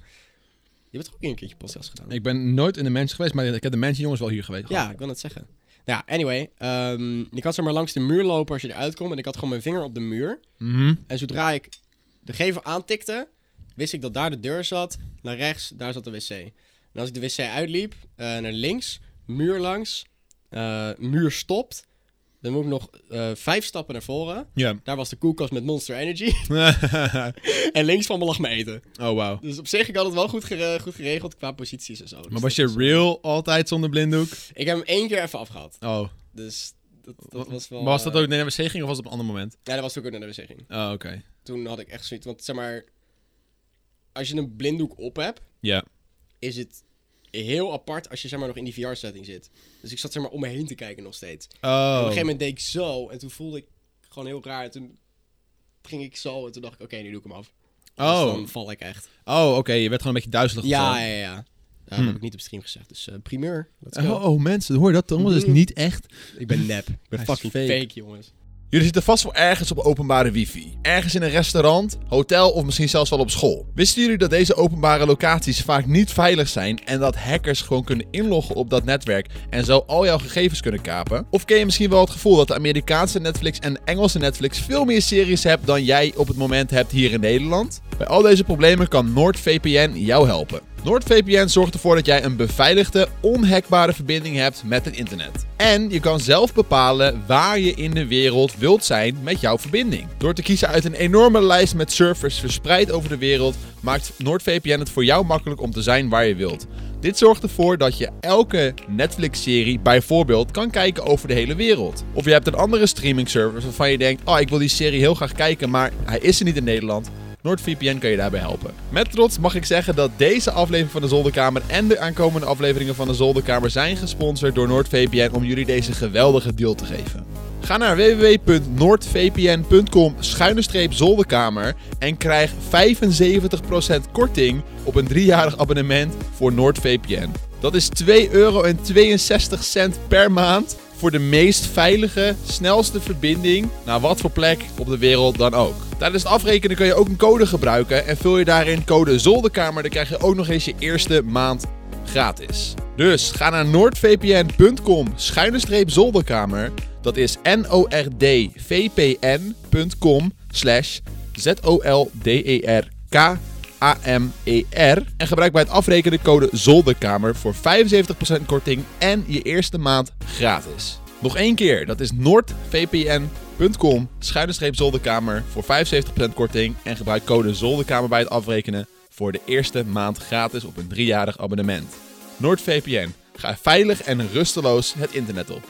Speaker 2: je bent toch ook een keertje podcast gedaan?
Speaker 1: Ik ben nooit in de mens geweest, maar ik heb de mensen jongens wel hier geweest.
Speaker 2: Ja, ik wil het zeggen. Nou ja, anyway. ehm, ik had zeg maar langs de muur lopen als je eruit komt. En ik had gewoon mijn vinger op de muur.
Speaker 1: Mhm.
Speaker 2: En zodra ik de gevel aantikte, wist ik dat daar de deur zat. Naar rechts, daar zat de wc. En als ik de wc uitliep, eh, naar links, muur langs, eh, muur stopt. Dan moet ik nog eh, vijf stappen naar voren.
Speaker 1: Ja.
Speaker 2: Daar was de koelkast met Monster Energy. en links van me lag mijn eten.
Speaker 1: oh, wauw.
Speaker 2: Dus op zich, ik had het wel goed, gere- goed geregeld qua posities en zo. Dus
Speaker 1: Maar
Speaker 2: dat
Speaker 1: was je real altijd zonder blinddoek?
Speaker 2: Ik heb hem één keer even afgehad.
Speaker 1: Oh.
Speaker 2: Dus dat, dat was wel...
Speaker 1: Maar was dat
Speaker 2: eh,
Speaker 1: ook naar de wc ging of was het op een ander moment?
Speaker 2: Ja, dat was toen ik ook naar de wc ging.
Speaker 1: Oh, oké.
Speaker 2: Toen had ik echt zoiets... Want zeg maar... Als je een blinddoek op hebt...
Speaker 1: Ja.
Speaker 2: is het heel apart als je zeg maar nog in die VR-setting zit. Dus ik zat zeg maar om me heen te kijken nog steeds. En Op een
Speaker 1: Oh.
Speaker 2: gegeven moment deed ik zo en toen voelde ik gewoon heel raar. En toen ging ik zo en toen dacht ik, oké, nu doe ik hem af. Dus
Speaker 1: Oh,
Speaker 2: dan val ik echt.
Speaker 1: oh oké. Je werd gewoon een beetje duizelig. of
Speaker 2: Ja,
Speaker 1: zo.
Speaker 2: ja, ja. ja. Dat
Speaker 1: Hmm.
Speaker 2: heb ik niet op stream gezegd, dus eh, primeur. Let's
Speaker 1: Oh,
Speaker 2: go.
Speaker 1: oh, mensen, hoor je dat? Thomas is
Speaker 2: Mhm.
Speaker 1: niet echt.
Speaker 2: Ik ben nep. Ik
Speaker 1: Hij
Speaker 2: ben
Speaker 1: is
Speaker 2: fucking
Speaker 1: fake.
Speaker 2: fake. jongens.
Speaker 1: Jullie zitten vast wel ergens op openbare wifi. Ergens in een restaurant, hotel of misschien zelfs wel op school. Wisten jullie dat deze openbare locaties vaak niet veilig zijn en dat hackers gewoon kunnen inloggen op dat netwerk en zo al jouw gegevens kunnen kapen? Of ken je misschien wel het gevoel dat de Amerikaanse Netflix en de Engelse Netflix veel meer series hebt dan jij op het moment hebt hier in Nederland? Bij al deze problemen kan NordVPN jou helpen.
Speaker 3: NordVPN zorgt ervoor dat jij een beveiligde, onhackbare verbinding hebt met het internet. En je kan zelf bepalen waar je in de wereld wilt zijn met jouw verbinding. Door te kiezen uit een enorme lijst met servers verspreid over de wereld, maakt NordVPN het voor jou makkelijk om te zijn waar je wilt. Dit zorgt ervoor dat je elke Netflix-serie bijvoorbeeld kan kijken over de hele wereld. Of je hebt een andere streaming service waarvan je denkt: Oh, ik wil die serie heel graag kijken, maar hij is er niet in Nederland. NordVPN kan je daarbij helpen. Met trots mag ik zeggen dat deze aflevering van de Zolderkamer en de aankomende afleveringen van de Zolderkamer zijn gesponsord door NordVPN om jullie deze geweldige deal te geven. Ga naar www.noordvpn.com zolderkamer en krijg 75% korting op een driejarig abonnement voor NordVPN. Dat is 2,62 euro per maand voor de meest veilige, snelste verbinding naar wat voor plek op de wereld dan ook. Tijdens het afrekenen kun je ook een code gebruiken en vul je daarin code zolderkamer, dan krijg je ook nog eens je eerste maand gratis. Dus ga naar noordvpn.com schuine streep zolderkamer. Dat is nordvpn.com slash E zolderkamer. AMER. E En gebruik bij het afrekenen code Zolderkamer voor 75% korting en je eerste maand gratis. Nog één keer, dat is noordvpn.com zolderkamer voor 75% korting en gebruik code Zolderkamer bij het afrekenen voor de eerste maand gratis op een driejarig abonnement. NoordVPN, ga veilig en rusteloos het internet op.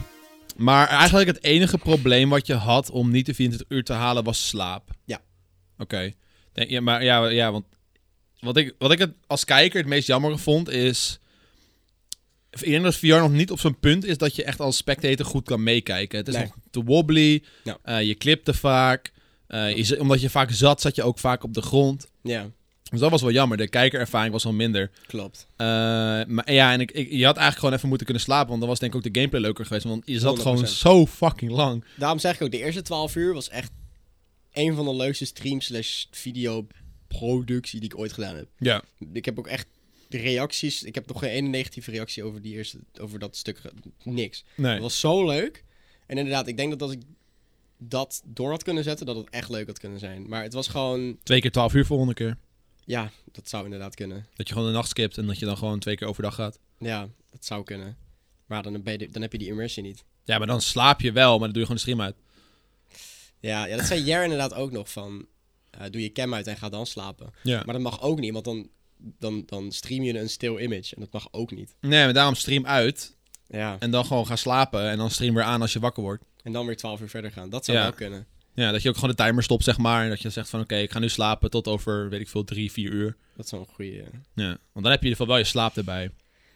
Speaker 1: Maar eigenlijk het enige probleem wat je had om niet de 24 uur te halen was slaap.
Speaker 2: Ja.
Speaker 1: Oké. Denk- Ja, maar ja, ja want wat ik, wat ik het als kijker het meest jammer vond is... Ik denk dat VR nog niet op zo'n punt is dat je echt als spectator goed kan meekijken. Het is
Speaker 2: Nee.
Speaker 1: nog te wobbly,
Speaker 2: Ja.
Speaker 1: eh, je klipt te vaak. eh, je zit- omdat je vaak zat, zat je ook vaak op de grond.
Speaker 2: Ja,
Speaker 1: Dus dat was wel jammer. De kijkerervaring was wel minder.
Speaker 2: klopt.
Speaker 1: Eh, maar ja, en ik, ik, je had eigenlijk gewoon even moeten kunnen slapen. Want dan was denk ik ook de gameplay leuker geweest. Want je zat gewoon
Speaker 2: 100%.
Speaker 1: zo fucking lang.
Speaker 2: Daarom zeg ik ook, de eerste 12 uur was echt een van de leukste streams slash videoproductie die ik ooit gedaan heb.
Speaker 1: Ja.
Speaker 2: Ik heb ook echt de reacties, ik heb nog geen ene negatieve reactie over, die eerste, over dat stuk, ge- niks.
Speaker 1: Nee.
Speaker 2: Het was zo leuk. En inderdaad, ik denk dat als ik dat door had kunnen zetten, dat het echt leuk had kunnen zijn. Maar het was gewoon,
Speaker 1: Twee keer twaalf uur volgende keer.
Speaker 2: ja, dat zou inderdaad kunnen.
Speaker 1: Dat je gewoon de nacht skipt en dat je dan gewoon twee keer overdag gaat.
Speaker 2: Ja, dat zou kunnen. Maar dan, ben je de- dan heb je die immersie niet.
Speaker 1: Ja, maar dan slaap je wel, maar dan doe je gewoon de stream uit.
Speaker 2: Ja, ja dat zei Jer inderdaad ook nog van, eh, doe je cam uit en ga dan slapen.
Speaker 1: Ja.
Speaker 2: Maar dat mag ook niet, want dan, dan, dan stream je een stil image. En dat mag ook niet.
Speaker 1: Nee, maar daarom stream uit
Speaker 2: Ja.
Speaker 1: en dan gewoon gaan slapen en dan stream weer aan als je wakker wordt.
Speaker 2: En dan weer 12 uur verder gaan. Dat zou
Speaker 1: Ja.
Speaker 2: wel kunnen.
Speaker 1: Ja, dat je ook gewoon de timer stopt, zeg maar. En dat je zegt van, oké, ik ga nu slapen tot over, weet ik veel, drie, vier uur.
Speaker 2: Dat zou een eh, goede...
Speaker 1: Ja, want dan heb je in ieder geval wel je slaap erbij.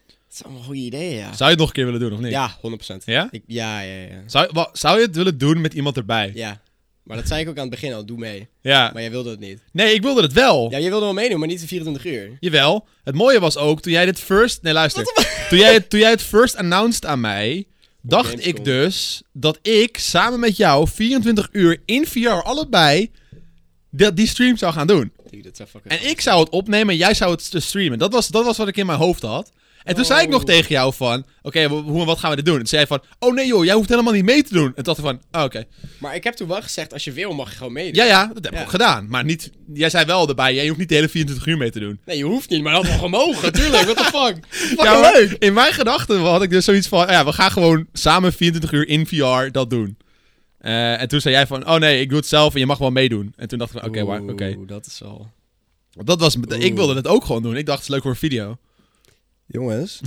Speaker 2: Dat zou een goede idee, ja.
Speaker 1: Zou je het nog een keer willen doen, of niet?
Speaker 2: Ja, 100%.
Speaker 1: Ah. Ja?
Speaker 2: Ik, ja, ja, ja.
Speaker 1: Zou, je- wa- zou je het willen doen met iemand erbij? Ja.
Speaker 2: Ja. Maar dat zei ik ook aan het begin al, doe mee. Maar jij wilde het niet.
Speaker 1: Nee, ik wilde het wel.
Speaker 2: Ja, je wilde wel meedoen, maar niet de 24 uur.
Speaker 1: Jawel. Het mooie was ook, toen jij dit first... Nee, luister. Toen jij, toen jij het first announced aan mij, dacht
Speaker 2: Gamescom.
Speaker 1: ik dus dat ik samen met jou 24 uur in VR allebei dat die stream zou gaan doen.
Speaker 2: Dude, dat zou fucking...
Speaker 1: En ik zou het opnemen en jij zou het st- streamen. Dat was, dat was wat ik in mijn hoofd had. En toen zei ik nog
Speaker 2: Oh.
Speaker 1: tegen jou van, oké, hoe hoe en wat gaan we dit doen? En toen zei jij van, oh nee joh, jij hoeft helemaal niet mee te doen. En toen dacht ik van, oh, oké.
Speaker 2: Maar ik heb toen wel gezegd, als je wil mag je gewoon meedoen.
Speaker 1: Ja, ja, dat heb ik
Speaker 2: Ja.
Speaker 1: ook gedaan. Maar niet, jij zei wel erbij, jij hoeft niet de hele 24 uur mee te doen.
Speaker 2: Nee, je hoeft niet, maar dat had wel gemogen, tuurlijk. What the fuck? Fucking
Speaker 1: Ja, maar
Speaker 2: leuk.
Speaker 1: In mijn gedachten had ik dus zoiets van, ja, we gaan gewoon samen 24 uur in VR dat doen. Eh, en toen zei jij van, oh nee, ik doe het zelf en je mag wel meedoen. En toen dacht ik, van, oké, waar- oké.
Speaker 2: Oeh, dat is al...
Speaker 1: Want Dat was, ik
Speaker 2: Oeh.
Speaker 1: wilde het ook gewoon doen. Ik dacht, het is leuk voor een video.
Speaker 2: Jongens,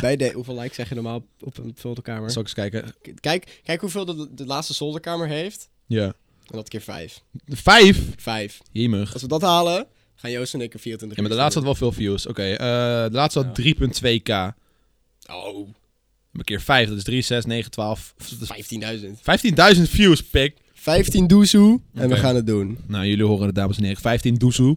Speaker 2: bij de... Hoeveel likes zeg je normaal op een zolderkamer?
Speaker 1: Zal ik eens kijken?
Speaker 2: K- Kijk, kijk hoeveel de, de laatste zolderkamer heeft.
Speaker 1: Ja.
Speaker 2: En dat keer vijf.
Speaker 1: Vijf?
Speaker 2: Vijf.
Speaker 1: Jemig.
Speaker 2: Als we dat halen, gaan Joost en ik een 24
Speaker 1: Ja, maar de
Speaker 2: uur
Speaker 1: laatste had
Speaker 2: streamen.
Speaker 1: wel veel views. Oké, eh, de laatste had 3.2k.
Speaker 2: Oh,
Speaker 1: Maar keer 5, dat is 3, 6, 9, 12. dat is
Speaker 2: 15.000.
Speaker 1: 15.000 views, pik.
Speaker 2: 15 doezoe en
Speaker 1: Oké.
Speaker 2: we gaan het doen.
Speaker 1: Nou, jullie horen het, dames en heren. 15 doezoe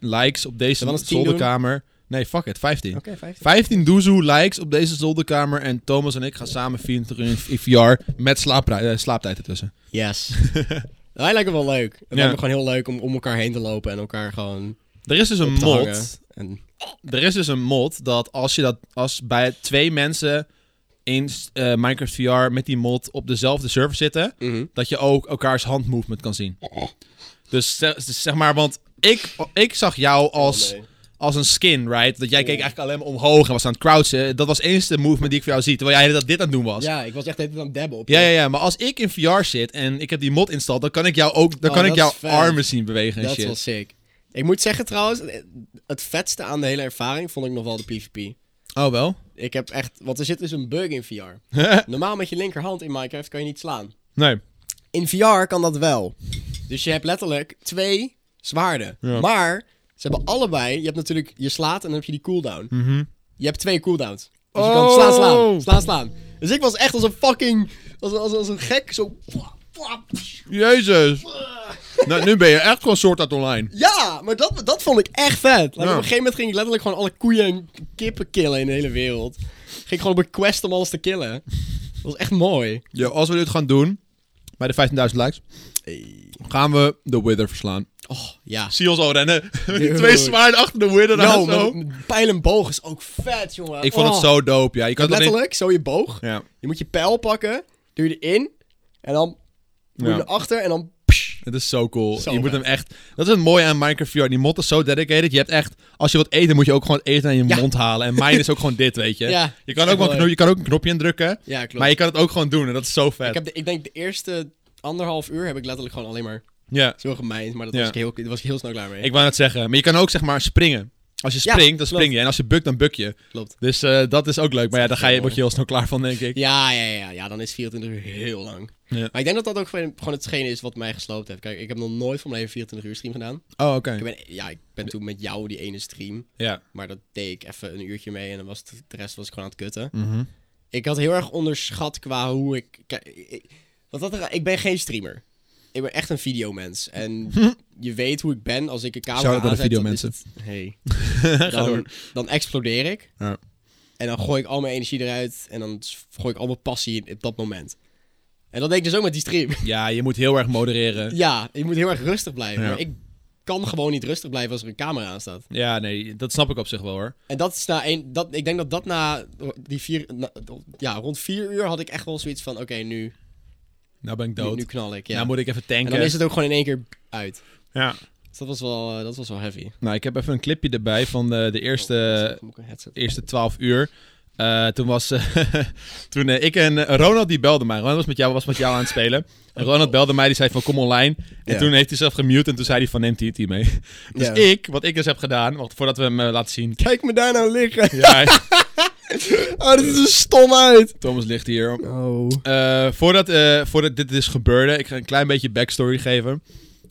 Speaker 1: likes op
Speaker 2: Zullen
Speaker 1: deze
Speaker 2: we nog 10 doen?
Speaker 1: zolderkamer. Nee, fuck it, 15.
Speaker 2: Oké, 15.
Speaker 1: 15 doezoe likes op deze zolderkamer. En Thomas en ik gaan samen 24 uur in VR met slaaprui- eh, slaaptijd ertussen.
Speaker 2: Yes. Hij lijkt me wel leuk. Het lijkt me gewoon heel leuk om om elkaar heen te lopen en elkaar gewoon
Speaker 1: Er is dus een
Speaker 2: te
Speaker 1: mod.
Speaker 2: hangen. En,
Speaker 1: Er is dus een mod dat als je dat als bij twee mensen in eh, Minecraft VR met die mod op dezelfde server zitten, dat je ook elkaars handmovement kan zien. Dus zeg, dus zeg maar, want ik, ik zag jou als
Speaker 2: Oh, nee.
Speaker 1: als een skin, right? Dat jij keek eigenlijk alleen maar omhoog en was aan het crouchen. Dat was eens de movement die ik voor jou zie, terwijl jij dat dit aan het doen was.
Speaker 2: Ja, ik was echt even aan het dabben op.
Speaker 1: Ja,
Speaker 2: je.
Speaker 1: ja, ja, maar als ik in VR zit en ik heb die mod installed, dan kan ik jou ook, dan
Speaker 2: Oh,
Speaker 1: kan ik
Speaker 2: dat
Speaker 1: jouw
Speaker 2: is vet.
Speaker 1: armen zien bewegen en
Speaker 2: Dat
Speaker 1: shit.
Speaker 2: was sick. Ik moet zeggen trouwens, het vetste aan de hele ervaring vond ik nog wel de PvP.
Speaker 1: Oh, wel?
Speaker 2: Ik heb echt, want er zit dus een bug in VR. Normaal met je linkerhand in Minecraft kan je niet slaan.
Speaker 1: nee.
Speaker 2: In VR kan dat wel. Dus je hebt letterlijk twee zwaarden.
Speaker 1: Ja.
Speaker 2: Maar ze hebben allebei, je hebt natuurlijk, je slaat en dan heb je die cooldown. Je hebt twee cooldowns. Dus je
Speaker 1: Mhm.
Speaker 2: kan
Speaker 1: Oh.
Speaker 2: slaan, slaan, slaan, slaan. Dus ik was echt als een fucking, als, als, als een gek, zo...
Speaker 1: Jezus. nou, nu ben je echt gewoon soort uit online.
Speaker 2: Ja, maar dat, dat vond ik echt vet. Like, Op een
Speaker 1: Ja.
Speaker 2: gegeven moment ging ik letterlijk gewoon alle koeien en kippen killen in de hele wereld. Ging ik gewoon op een quest om alles te killen. Dat was echt mooi.
Speaker 1: Ja, als we dit gaan doen, bij de 15.000 likes, gaan we de Wither verslaan.
Speaker 2: Oh, ja.
Speaker 1: Zie ons al rennen. Die
Speaker 2: Dude.
Speaker 1: Twee zwaarden achter de Wither. aan
Speaker 2: Nou,
Speaker 1: zo.
Speaker 2: pijl en boog is ook vet, jongen.
Speaker 1: Ik vond
Speaker 2: Oh.
Speaker 1: het zo dope, ja. Je kan het alleen-
Speaker 2: Letterlijk, zo je boog.
Speaker 1: Ja.
Speaker 2: Je moet je pijl pakken, duw je erin, en dan moet je
Speaker 1: Ja.
Speaker 2: naar achter, en dan... psh.
Speaker 1: Het is zo cool.
Speaker 2: Zo
Speaker 1: je moet
Speaker 2: vet.
Speaker 1: hem echt... Dat is het mooie aan Minecraft VR. Die mod is zo dedicated. Je hebt echt... Als je wilt eten, moet je ook gewoon het eten aan je
Speaker 2: Ja.
Speaker 1: mond halen. En mijn is ook gewoon dit, weet je.
Speaker 2: Ja, dat
Speaker 1: je,
Speaker 2: is
Speaker 1: kan
Speaker 2: echt
Speaker 1: ook wel een
Speaker 2: mooi.
Speaker 1: knop- je kan ook een knopje indrukken.
Speaker 2: Ja, klopt.
Speaker 1: Maar je kan het ook gewoon doen. En dat is zo vet.
Speaker 2: ik, heb de- ik denk de eerste anderhalf uur heb ik letterlijk gewoon alleen maar
Speaker 1: Ja.
Speaker 2: zo gemijnd, maar dat
Speaker 1: Ja.
Speaker 2: was ik heel, daar was ik heel snel klaar mee.
Speaker 1: Ik wou net zeggen. Maar je kan ook, zeg maar, springen. Als je
Speaker 2: Ja,
Speaker 1: springt, dan spring
Speaker 2: klopt.
Speaker 1: je. En als je bukt, dan buk je.
Speaker 2: Klopt.
Speaker 1: Dus eh, dat is ook leuk. Maar ja, daar ga je, word je heel snel klaar van, denk ik.
Speaker 2: Ja, ja, ja, ja, dan is 24 uur heel lang.
Speaker 1: Ja.
Speaker 2: Maar ik denk dat dat ook gewoon gewoon hetgene is wat mij gesloopt heeft. Kijk, ik heb nog nooit van mijn leven 24 uur stream gedaan.
Speaker 1: Oh, oké.
Speaker 2: Ik ben, ja, ik ben toen met jou die ene stream,
Speaker 1: Ja.
Speaker 2: maar dat deed ik even een uurtje mee en dan was het- de rest was ik gewoon aan het kutten.
Speaker 1: Mhm.
Speaker 2: Ik had heel erg onderschat qua hoe ik. kijk, ik- Wat dat er, ik ben geen streamer. Ik ben echt een videomens. En je weet hoe ik ben als ik een camera
Speaker 1: Shout-out aan de
Speaker 2: aanzet, dan
Speaker 1: videomensen.
Speaker 2: is het- Hey. dan, dan explodeer ik.
Speaker 1: Ja.
Speaker 2: En dan gooi ik al mijn energie eruit. En dan s- gooi ik al mijn passie in op dat moment. En dat deed ik dus ook met die stream.
Speaker 1: Ja, je moet heel erg modereren.
Speaker 2: ja, je moet heel erg rustig blijven.
Speaker 1: Ja.
Speaker 2: Maar ik kan gewoon niet rustig blijven als er een camera aan staat.
Speaker 1: Ja, nee. Dat snap ik op zich wel, hoor.
Speaker 2: En dat is na één. Dat, ik denk dat dat na die vier. na- ja, rond vier uur had ik echt wel zoiets van: oké, nu,
Speaker 1: Nou ben ik
Speaker 2: nu,
Speaker 1: dood.
Speaker 2: nu knal ik. Ja.
Speaker 1: Nou moet ik even
Speaker 2: En
Speaker 1: tanken.
Speaker 2: dan is het ook gewoon in één keer uit.
Speaker 1: Ja.
Speaker 2: Dus dat was wel, eh, dat was wel heavy. Oh,
Speaker 1: Nou, ik heb even een clipje erbij van eh, de, de eerste,
Speaker 2: Moet ik een headset?
Speaker 1: eerste 12 uur. Eh, toen was eh, toen eh, ik en eh, Ronald die belde mij. Ronald was met jou, was met jou aan het spelen. En Ronald belde mij, die zei van kom online. En
Speaker 2: Oh. Ja.
Speaker 1: toen heeft hij zelf gemute en toen zei hij van neemt hij het hier mee. Dus
Speaker 2: Ja.
Speaker 1: ik, wat ik dus heb gedaan, wacht, voordat we hem eh, laten zien.
Speaker 2: Kijk me daar nou liggen.
Speaker 1: Ja,
Speaker 2: Oh, dit is er stom uit.
Speaker 1: Thomas ligt hier.
Speaker 2: Oh.
Speaker 1: Eh, voordat, eh, voordat dit is gebeurde, ik ga een klein beetje backstory geven.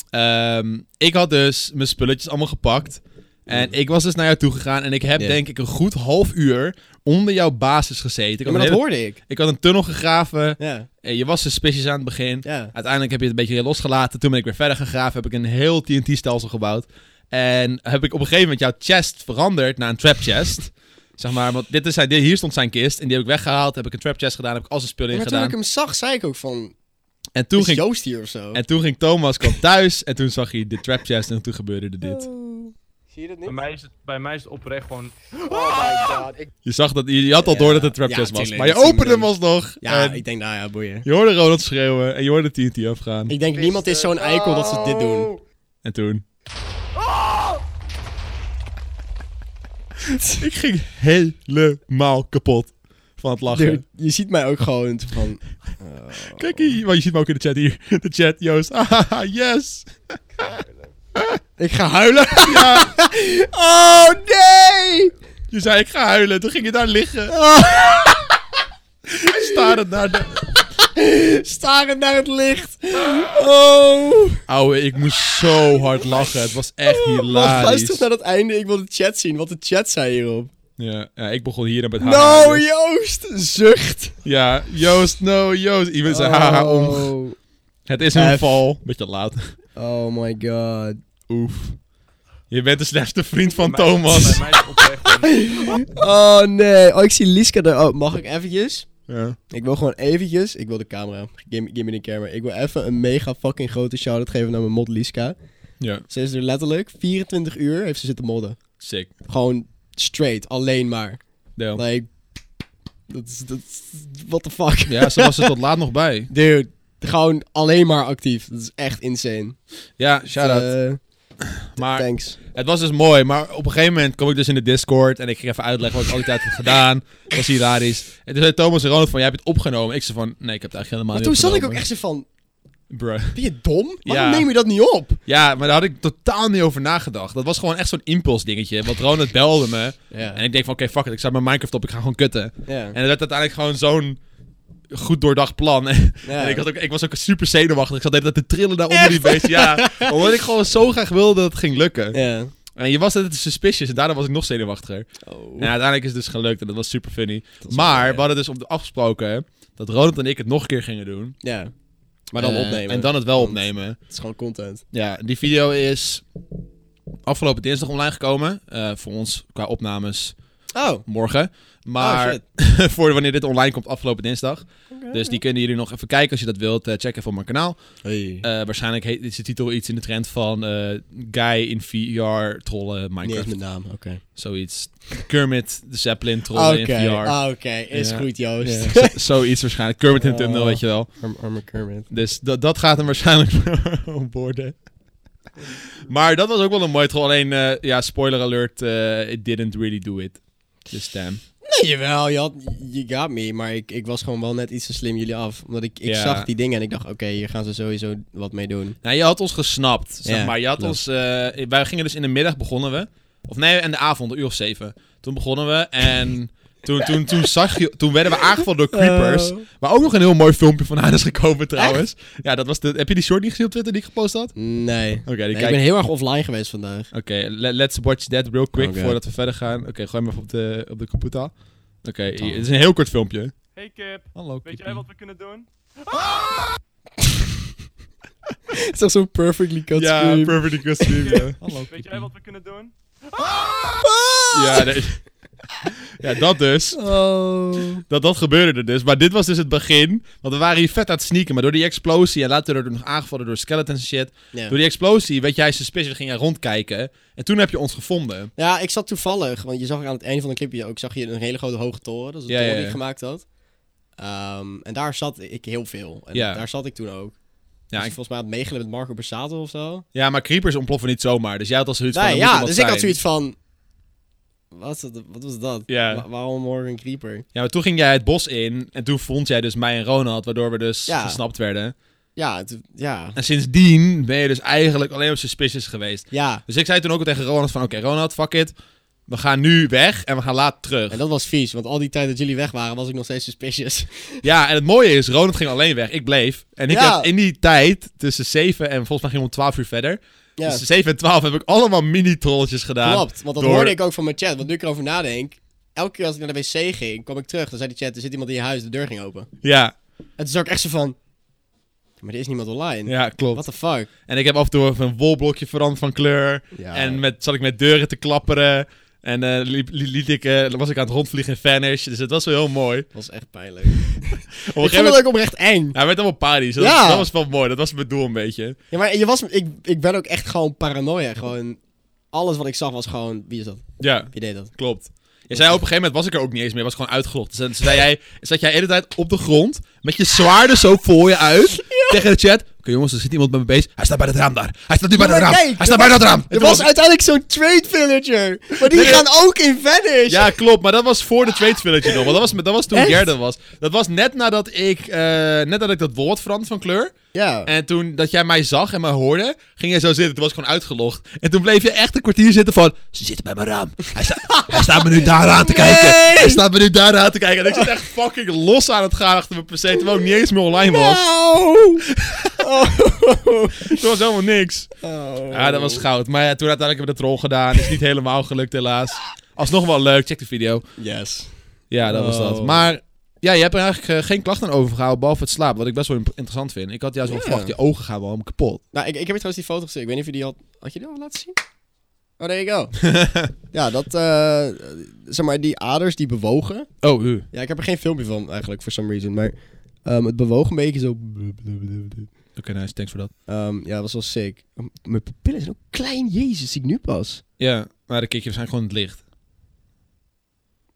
Speaker 1: Ehm, ik had dus mijn spulletjes allemaal gepakt. En ik was dus naar jou toe gegaan en ik heb
Speaker 2: Mhm. Ja.
Speaker 1: denk ik een goed half uur onder jouw basis gezeten. Ik, had,
Speaker 2: maar
Speaker 1: een
Speaker 2: dat
Speaker 1: hele-
Speaker 2: hoorde ik.
Speaker 1: ik had een tunnel gegraven.
Speaker 2: Ja,
Speaker 1: Eh, Je was suspicious aan het begin.
Speaker 2: ja.
Speaker 1: Uiteindelijk heb je het een beetje losgelaten. Toen ben ik weer verder gegraven. Heb ik een heel TNT-stelsel gebouwd. En heb ik op een gegeven moment jouw chest veranderd naar een trap chest. zeg maar, want dit is zijn, dit- hier stond zijn kist. En die heb ik weggehaald. Heb ik een trap chest gedaan. Heb ik al zijn spullen in
Speaker 2: Maar toen
Speaker 1: gedaan.
Speaker 2: ik hem zag, zei ik ook van,
Speaker 1: En toen
Speaker 2: is
Speaker 1: ging
Speaker 2: Joost hier of zo?
Speaker 1: en toen ging Thomas kwam thuis en toen zag hij de trap chest en toen gebeurde er dit.
Speaker 2: Oh. Zie je dat
Speaker 4: Bij mij, is het, bij mij is het oprecht gewoon.
Speaker 2: Oh my god. Ik...
Speaker 1: Je zag dat, je, je had al
Speaker 2: Ja.
Speaker 1: door dat het trap
Speaker 2: Ja,
Speaker 1: chest was,
Speaker 2: tuurlijk,
Speaker 1: maar je
Speaker 2: dat zien
Speaker 1: opende
Speaker 2: we
Speaker 1: hem alsnog.
Speaker 2: Ja,
Speaker 1: en
Speaker 2: ik denk, nou ja, boeien.
Speaker 1: je hoorde Ronald schreeuwen en je hoorde TNT afgaan.
Speaker 2: Ik denk, niemand is zo'n eikel dat ze dit doen.
Speaker 1: En toen...
Speaker 2: Ah!
Speaker 1: ik ging helemaal kapot van het lachen.
Speaker 2: Dude, je ziet mij ook gewoon van...
Speaker 1: Kijk hier, want je ziet me ook in de chat hier. De chat, Joost. Ah, yes!
Speaker 2: Ik ga huilen.
Speaker 1: Ja,
Speaker 2: Oh, nee!
Speaker 1: je zei ik ga huilen. Toen ging je daar liggen.
Speaker 2: Ah!
Speaker 1: Starend naar de...
Speaker 2: Staren naar het licht. Oh.
Speaker 1: Ouwe, ik moest zo hard lachen. Het was echt
Speaker 2: Wacht, Oh, luister
Speaker 1: hilarisch.
Speaker 2: naar het einde. Ik wil de chat zien, wat de chat zei hierop.
Speaker 1: Ja, ja, ik begon hier met haar.
Speaker 2: Nou,
Speaker 1: dus-
Speaker 2: Joost, zucht.
Speaker 1: Ja, Joost, no, Joost. Iemand zei Dus, haha om.
Speaker 2: Oh.
Speaker 1: Het is een
Speaker 2: F.
Speaker 1: val. Beetje laat.
Speaker 2: Oh my god.
Speaker 1: Oef. Je bent de slechtste vriend van
Speaker 4: bij mij- Bij
Speaker 1: Thomas.
Speaker 4: mij is het oprecht gewoon.
Speaker 2: Oh nee. Oh, ik zie Lieske daar. Oh, mag ik eventjes?
Speaker 1: Ja.
Speaker 2: Ik wil gewoon eventjes. Ik wil de camera. Give, me- give me de camera. Ik wil even een mega fucking grote shout-out geven naar mijn mod Lieska.
Speaker 1: ja,
Speaker 2: Ze is er letterlijk 24 uur heeft ze zitten modden.
Speaker 1: sick.
Speaker 2: Gewoon straight, alleen maar.
Speaker 1: Damn.
Speaker 2: Like, dat is, dat is, what the fuck.
Speaker 1: Ja, ze was er tot laat nog bij.
Speaker 2: Dude, gewoon alleen maar actief. Dat is echt insane.
Speaker 1: Ja, shout-out.
Speaker 2: Eh,
Speaker 1: Maar
Speaker 2: Thanks.
Speaker 1: het was dus mooi. Maar op een gegeven moment kwam ik dus in de Discord en ik ging even uitleggen wat ik al die tijd had gedaan. Dat was hilarisch. En toen zei Thomas en Ronald van, jij hebt het opgenomen. Ik zei van, nee, ik heb het eigenlijk helemaal
Speaker 2: Maar
Speaker 1: niet
Speaker 2: toen zat ik ook
Speaker 1: opgenomen.
Speaker 2: echt zo van,
Speaker 1: Bruh.
Speaker 2: ben je dom? Waarom
Speaker 1: Ja.
Speaker 2: neem je dat niet op?
Speaker 1: Ja, maar daar had ik totaal niet over nagedacht. Dat was gewoon echt zo'n impuls dingetje. Want Ronald belde me. En
Speaker 2: Ja.
Speaker 1: ik denk van, oké, fuck it. Ik zet mijn Minecraft op. Ik ga gewoon kutten.
Speaker 2: Ja.
Speaker 1: En het werd uiteindelijk gewoon zo'n goed doordacht plan. En
Speaker 2: Ja.
Speaker 1: ik, had ook, ik was ook super zenuwachtig. Ik zat de hele tijd te trillen daar onder die beest. Ja, omdat ik gewoon zo graag wilde dat het ging lukken.
Speaker 2: Ja.
Speaker 1: En je was altijd suspicious. En daardoor was ik nog zenuwachtiger.
Speaker 2: Oh.
Speaker 1: En uiteindelijk is het dus gelukt. En dat was super funny. Maar we hadden dus op de afgesproken dat Ronald en ik het nog een keer gingen doen.
Speaker 2: Ja. Maar dan
Speaker 1: Eh,
Speaker 2: opnemen.
Speaker 1: En dan het wel
Speaker 2: Want-
Speaker 1: opnemen.
Speaker 2: Het is gewoon content.
Speaker 1: Ja, die video is afgelopen dinsdag online gekomen. eh, voor ons qua opnames
Speaker 2: Oh.
Speaker 1: morgen. Maar
Speaker 2: oh, shit.
Speaker 1: voor wanneer dit online komt, afgelopen dinsdag. Dus die kunnen jullie nog even kijken als je dat wilt. eh, check even op mijn kanaal.
Speaker 2: Hey.
Speaker 1: Eh, waarschijnlijk heet, is de titel iets in de trend van eh, Guy in VR trollen
Speaker 2: Niet eens
Speaker 1: Minecraft.
Speaker 2: met naam, oké.
Speaker 1: Zoiets. Kermit de Zeppelin trollen
Speaker 2: Oké,
Speaker 1: in VR.
Speaker 2: ah, oké. Is
Speaker 1: Ja.
Speaker 2: goed, Joost.
Speaker 1: Z- Zoiets waarschijnlijk. Kermit in
Speaker 2: Oh.
Speaker 1: thumbnail, weet je wel.
Speaker 2: Arm, arme Kermit.
Speaker 1: Dus dat, dat gaat hem waarschijnlijk worden. Maar dat was ook wel een mooi troll. Alleen, eh, ja, spoiler alert, eh, it didn't really do it. Dus damn.
Speaker 2: Nee, jawel. Je, had, you got me. Maar ik, ik was gewoon wel net iets te slim jullie af. Omdat ik, ik
Speaker 1: Ja.
Speaker 2: zag die dingen en ik dacht, oké, hier gaan ze sowieso wat mee doen.
Speaker 1: Nou, je had ons gesnapt, zeg
Speaker 2: Ja,
Speaker 1: maar. Je had
Speaker 2: klopt.
Speaker 1: ons, eh, wij gingen dus in de middag begonnen we. Of nee, en de avond, een uur of zeven. Toen begonnen we en toen, toen, toen, zag je, toen werden we aangevallen door creepers.
Speaker 2: Oh.
Speaker 1: Waar ook nog een heel mooi filmpje van aan is gekomen trouwens. Ja, dat was de, heb je die short niet gezien op Twitter die ik gepost had?
Speaker 2: Nee.
Speaker 1: Oké, die
Speaker 2: Nee,
Speaker 1: kijk-
Speaker 2: Ik ben heel erg offline geweest vandaag.
Speaker 1: Oké, le- let's watch that real quick
Speaker 2: Oké.
Speaker 1: voordat we verder gaan. Oké, gooi hem even op de, op de computer. Oké, hier- het is een heel kort filmpje.
Speaker 4: Hey Kip,
Speaker 1: Hallo,
Speaker 4: weet jij wat we kunnen doen?
Speaker 2: Het is echt zo'n perfectly cut
Speaker 1: Ja, perfect costume. ja. Hallo,
Speaker 4: Weet jij wat we kunnen doen?
Speaker 2: Ah!
Speaker 1: Ja, nee. ja, dat dus.
Speaker 2: Oh.
Speaker 1: Dat, dat gebeurde er dus. Maar dit was dus het begin. Want we waren hier vet aan het sneaken. Maar door die explosie en later door nog aangevallen door skeletons en shit.
Speaker 2: Ja.
Speaker 1: Door die explosie werd jij suspicious ging jij rondkijken. En toen heb je ons gevonden.
Speaker 2: Ja, ik zat toevallig, want je zag aan het einde van de clipje ook, zag je een hele grote hoge toren, dat is de
Speaker 1: Ja,
Speaker 2: toren
Speaker 1: ja,
Speaker 2: die ik
Speaker 1: ja.
Speaker 2: gemaakt had. Ehm, en daar zat ik heel veel. En
Speaker 1: Ja.
Speaker 2: daar zat ik toen ook.
Speaker 1: Ja,
Speaker 2: Ja,
Speaker 1: ik-
Speaker 2: volgens mij had meegelen met Marco Borsato of zo.
Speaker 1: ja, maar creepers ontploffen niet zomaar. Dus jij had al zoiets van...
Speaker 2: Nee,
Speaker 1: er moet
Speaker 2: ja,
Speaker 1: wat
Speaker 2: dus ik had
Speaker 1: zijn.
Speaker 2: zoiets van... Wat, is dat- wat was dat?
Speaker 1: Ja.
Speaker 2: Wa- waarom Morgan Creeper?
Speaker 1: Ja, maar toen ging jij het bos in en toen vond jij dus mij en Ronald, waardoor we dus
Speaker 2: Ja.
Speaker 1: gesnapt werden.
Speaker 2: Ja, het- ja,
Speaker 1: En sindsdien ben je dus eigenlijk alleen op suspicious geweest.
Speaker 2: ja.
Speaker 1: Dus ik zei toen ook tegen Ronald van, oké Ronald, fuck it. We gaan nu weg en we gaan later terug.
Speaker 2: En dat was vies, want al die tijd dat jullie weg waren, was ik nog steeds suspicious.
Speaker 1: Ja, en het mooie is, Ronald ging alleen weg. Ik bleef. En ik
Speaker 2: Ja.
Speaker 1: heb in die tijd, tussen 7 en volgens mij ging om 12 uur verder.
Speaker 2: ja,
Speaker 1: Tussen 7 en 12 heb ik allemaal mini-trolletjes gedaan.
Speaker 2: klopt. Want dat
Speaker 1: Ehm, door-
Speaker 2: hoorde ik ook van mijn chat, want nu ik erover nadenk... Elke keer als ik naar de wc ging, kwam ik terug, dan zei die chat, er zit iemand in je huis, de deur ging open.
Speaker 1: Ja,
Speaker 2: En toen zag ik echt zo van... Maar er is niemand online.
Speaker 1: ja, klopt.
Speaker 2: What the fuck?
Speaker 1: En ik heb af en toe even een wolblokje veranderd van kleur. En met, zat ik met deuren te klapperen. En eh, liep, li- liet ik, eh, was ik aan het rondvliegen in Vanish. Dus het was wel heel mooi. Op
Speaker 2: dat was echt pijnlijk. ik
Speaker 1: een
Speaker 2: vond
Speaker 1: gegeven
Speaker 2: het
Speaker 1: moment...
Speaker 2: ook oprecht eng.
Speaker 1: Hij werd allemaal panisch. Dus Dat,
Speaker 2: Ja.
Speaker 1: dat was wel mooi. Dat was mijn doel een beetje.
Speaker 2: Ja, maar je was, ik, ik ben ook echt gewoon paranoia. Gewoon, alles wat ik zag was gewoon, wie is dat?
Speaker 1: Ja,
Speaker 2: Wie deed dat?
Speaker 1: klopt. Je zei op een gegeven moment was ik er ook niet eens meer. Was gewoon uitgelogd. Dus zei jij, zat jij de hele tijd op de grond. Met je zwaarden zo voor je uit. Tegen de chat. Oké jongens, er zit iemand met mijn beest. Hij staat bij dat raam daar. Hij staat nu bij
Speaker 2: Ja,
Speaker 1: dat
Speaker 2: maar
Speaker 1: raam.
Speaker 2: kijk,
Speaker 1: Hij staat bij dat raam. En
Speaker 2: Er
Speaker 1: toen
Speaker 2: was
Speaker 1: ik-
Speaker 2: uiteindelijk zo'n trade villager. Maar die
Speaker 1: Nee,
Speaker 2: gaan ook in Venice.
Speaker 1: Ja, klopt. Maar dat was voor de tweede village nog. Want dat was, dat was toen
Speaker 2: Echt?
Speaker 1: Gerda was. Dat was net nadat ik, eh, net nadat ik dat woord veranderd van kleur.
Speaker 2: ja.
Speaker 1: En toen dat jij mij zag en mij hoorde, ging jij zo zitten. Toen was ik gewoon uitgelogd. En toen bleef je echt een kwartier zitten van... Ze zitten bij mijn raam. Hij, sta- hij staat me nu daar aan te kijken. Hij staat me nu daar aan te kijken. En ik zat echt fucking los aan het gaan achter mijn PC. Terwijl ik niet eens meer online was.
Speaker 2: Nou. Oh.
Speaker 1: Toen was helemaal niks.
Speaker 2: Oh.
Speaker 1: Ja, Ah, dat was goud. Maar ja, toen uiteindelijk hebben we de troll gedaan. Is niet helemaal gelukt helaas. Alsnog wel leuk. Check de video.
Speaker 2: Oh, Yes.
Speaker 1: Ja, dat was dat.
Speaker 2: Oh.
Speaker 1: Maar ja, je hebt er eigenlijk eh, geen klachten aan overgehouden, behalve het slapen. Wat ik best wel imp- interessant vind. Ik had juist wel
Speaker 2: Ja.
Speaker 1: verwacht, je ogen gaan wel helemaal kapot.
Speaker 2: Nou, ik, ik heb je trouwens die foto gezien. Ik weet niet of je die had... Had je die al laten zien? Oh, there you go. ja, dat... eh, zeg maar, die aders die bewogen...
Speaker 1: Oh, uh.
Speaker 2: Ja, ik heb er geen filmpje van eigenlijk, for some reason. Maar ehm, het bewoog een beetje zo...
Speaker 1: Oké, nice. Thanks voor dat.
Speaker 2: Ehm, ja, dat was wel sick. M- Mijn pupillen zijn ook klein. Jezus, zie ik nu pas.
Speaker 1: Ja, maar de kikjes zijn gewoon in het licht.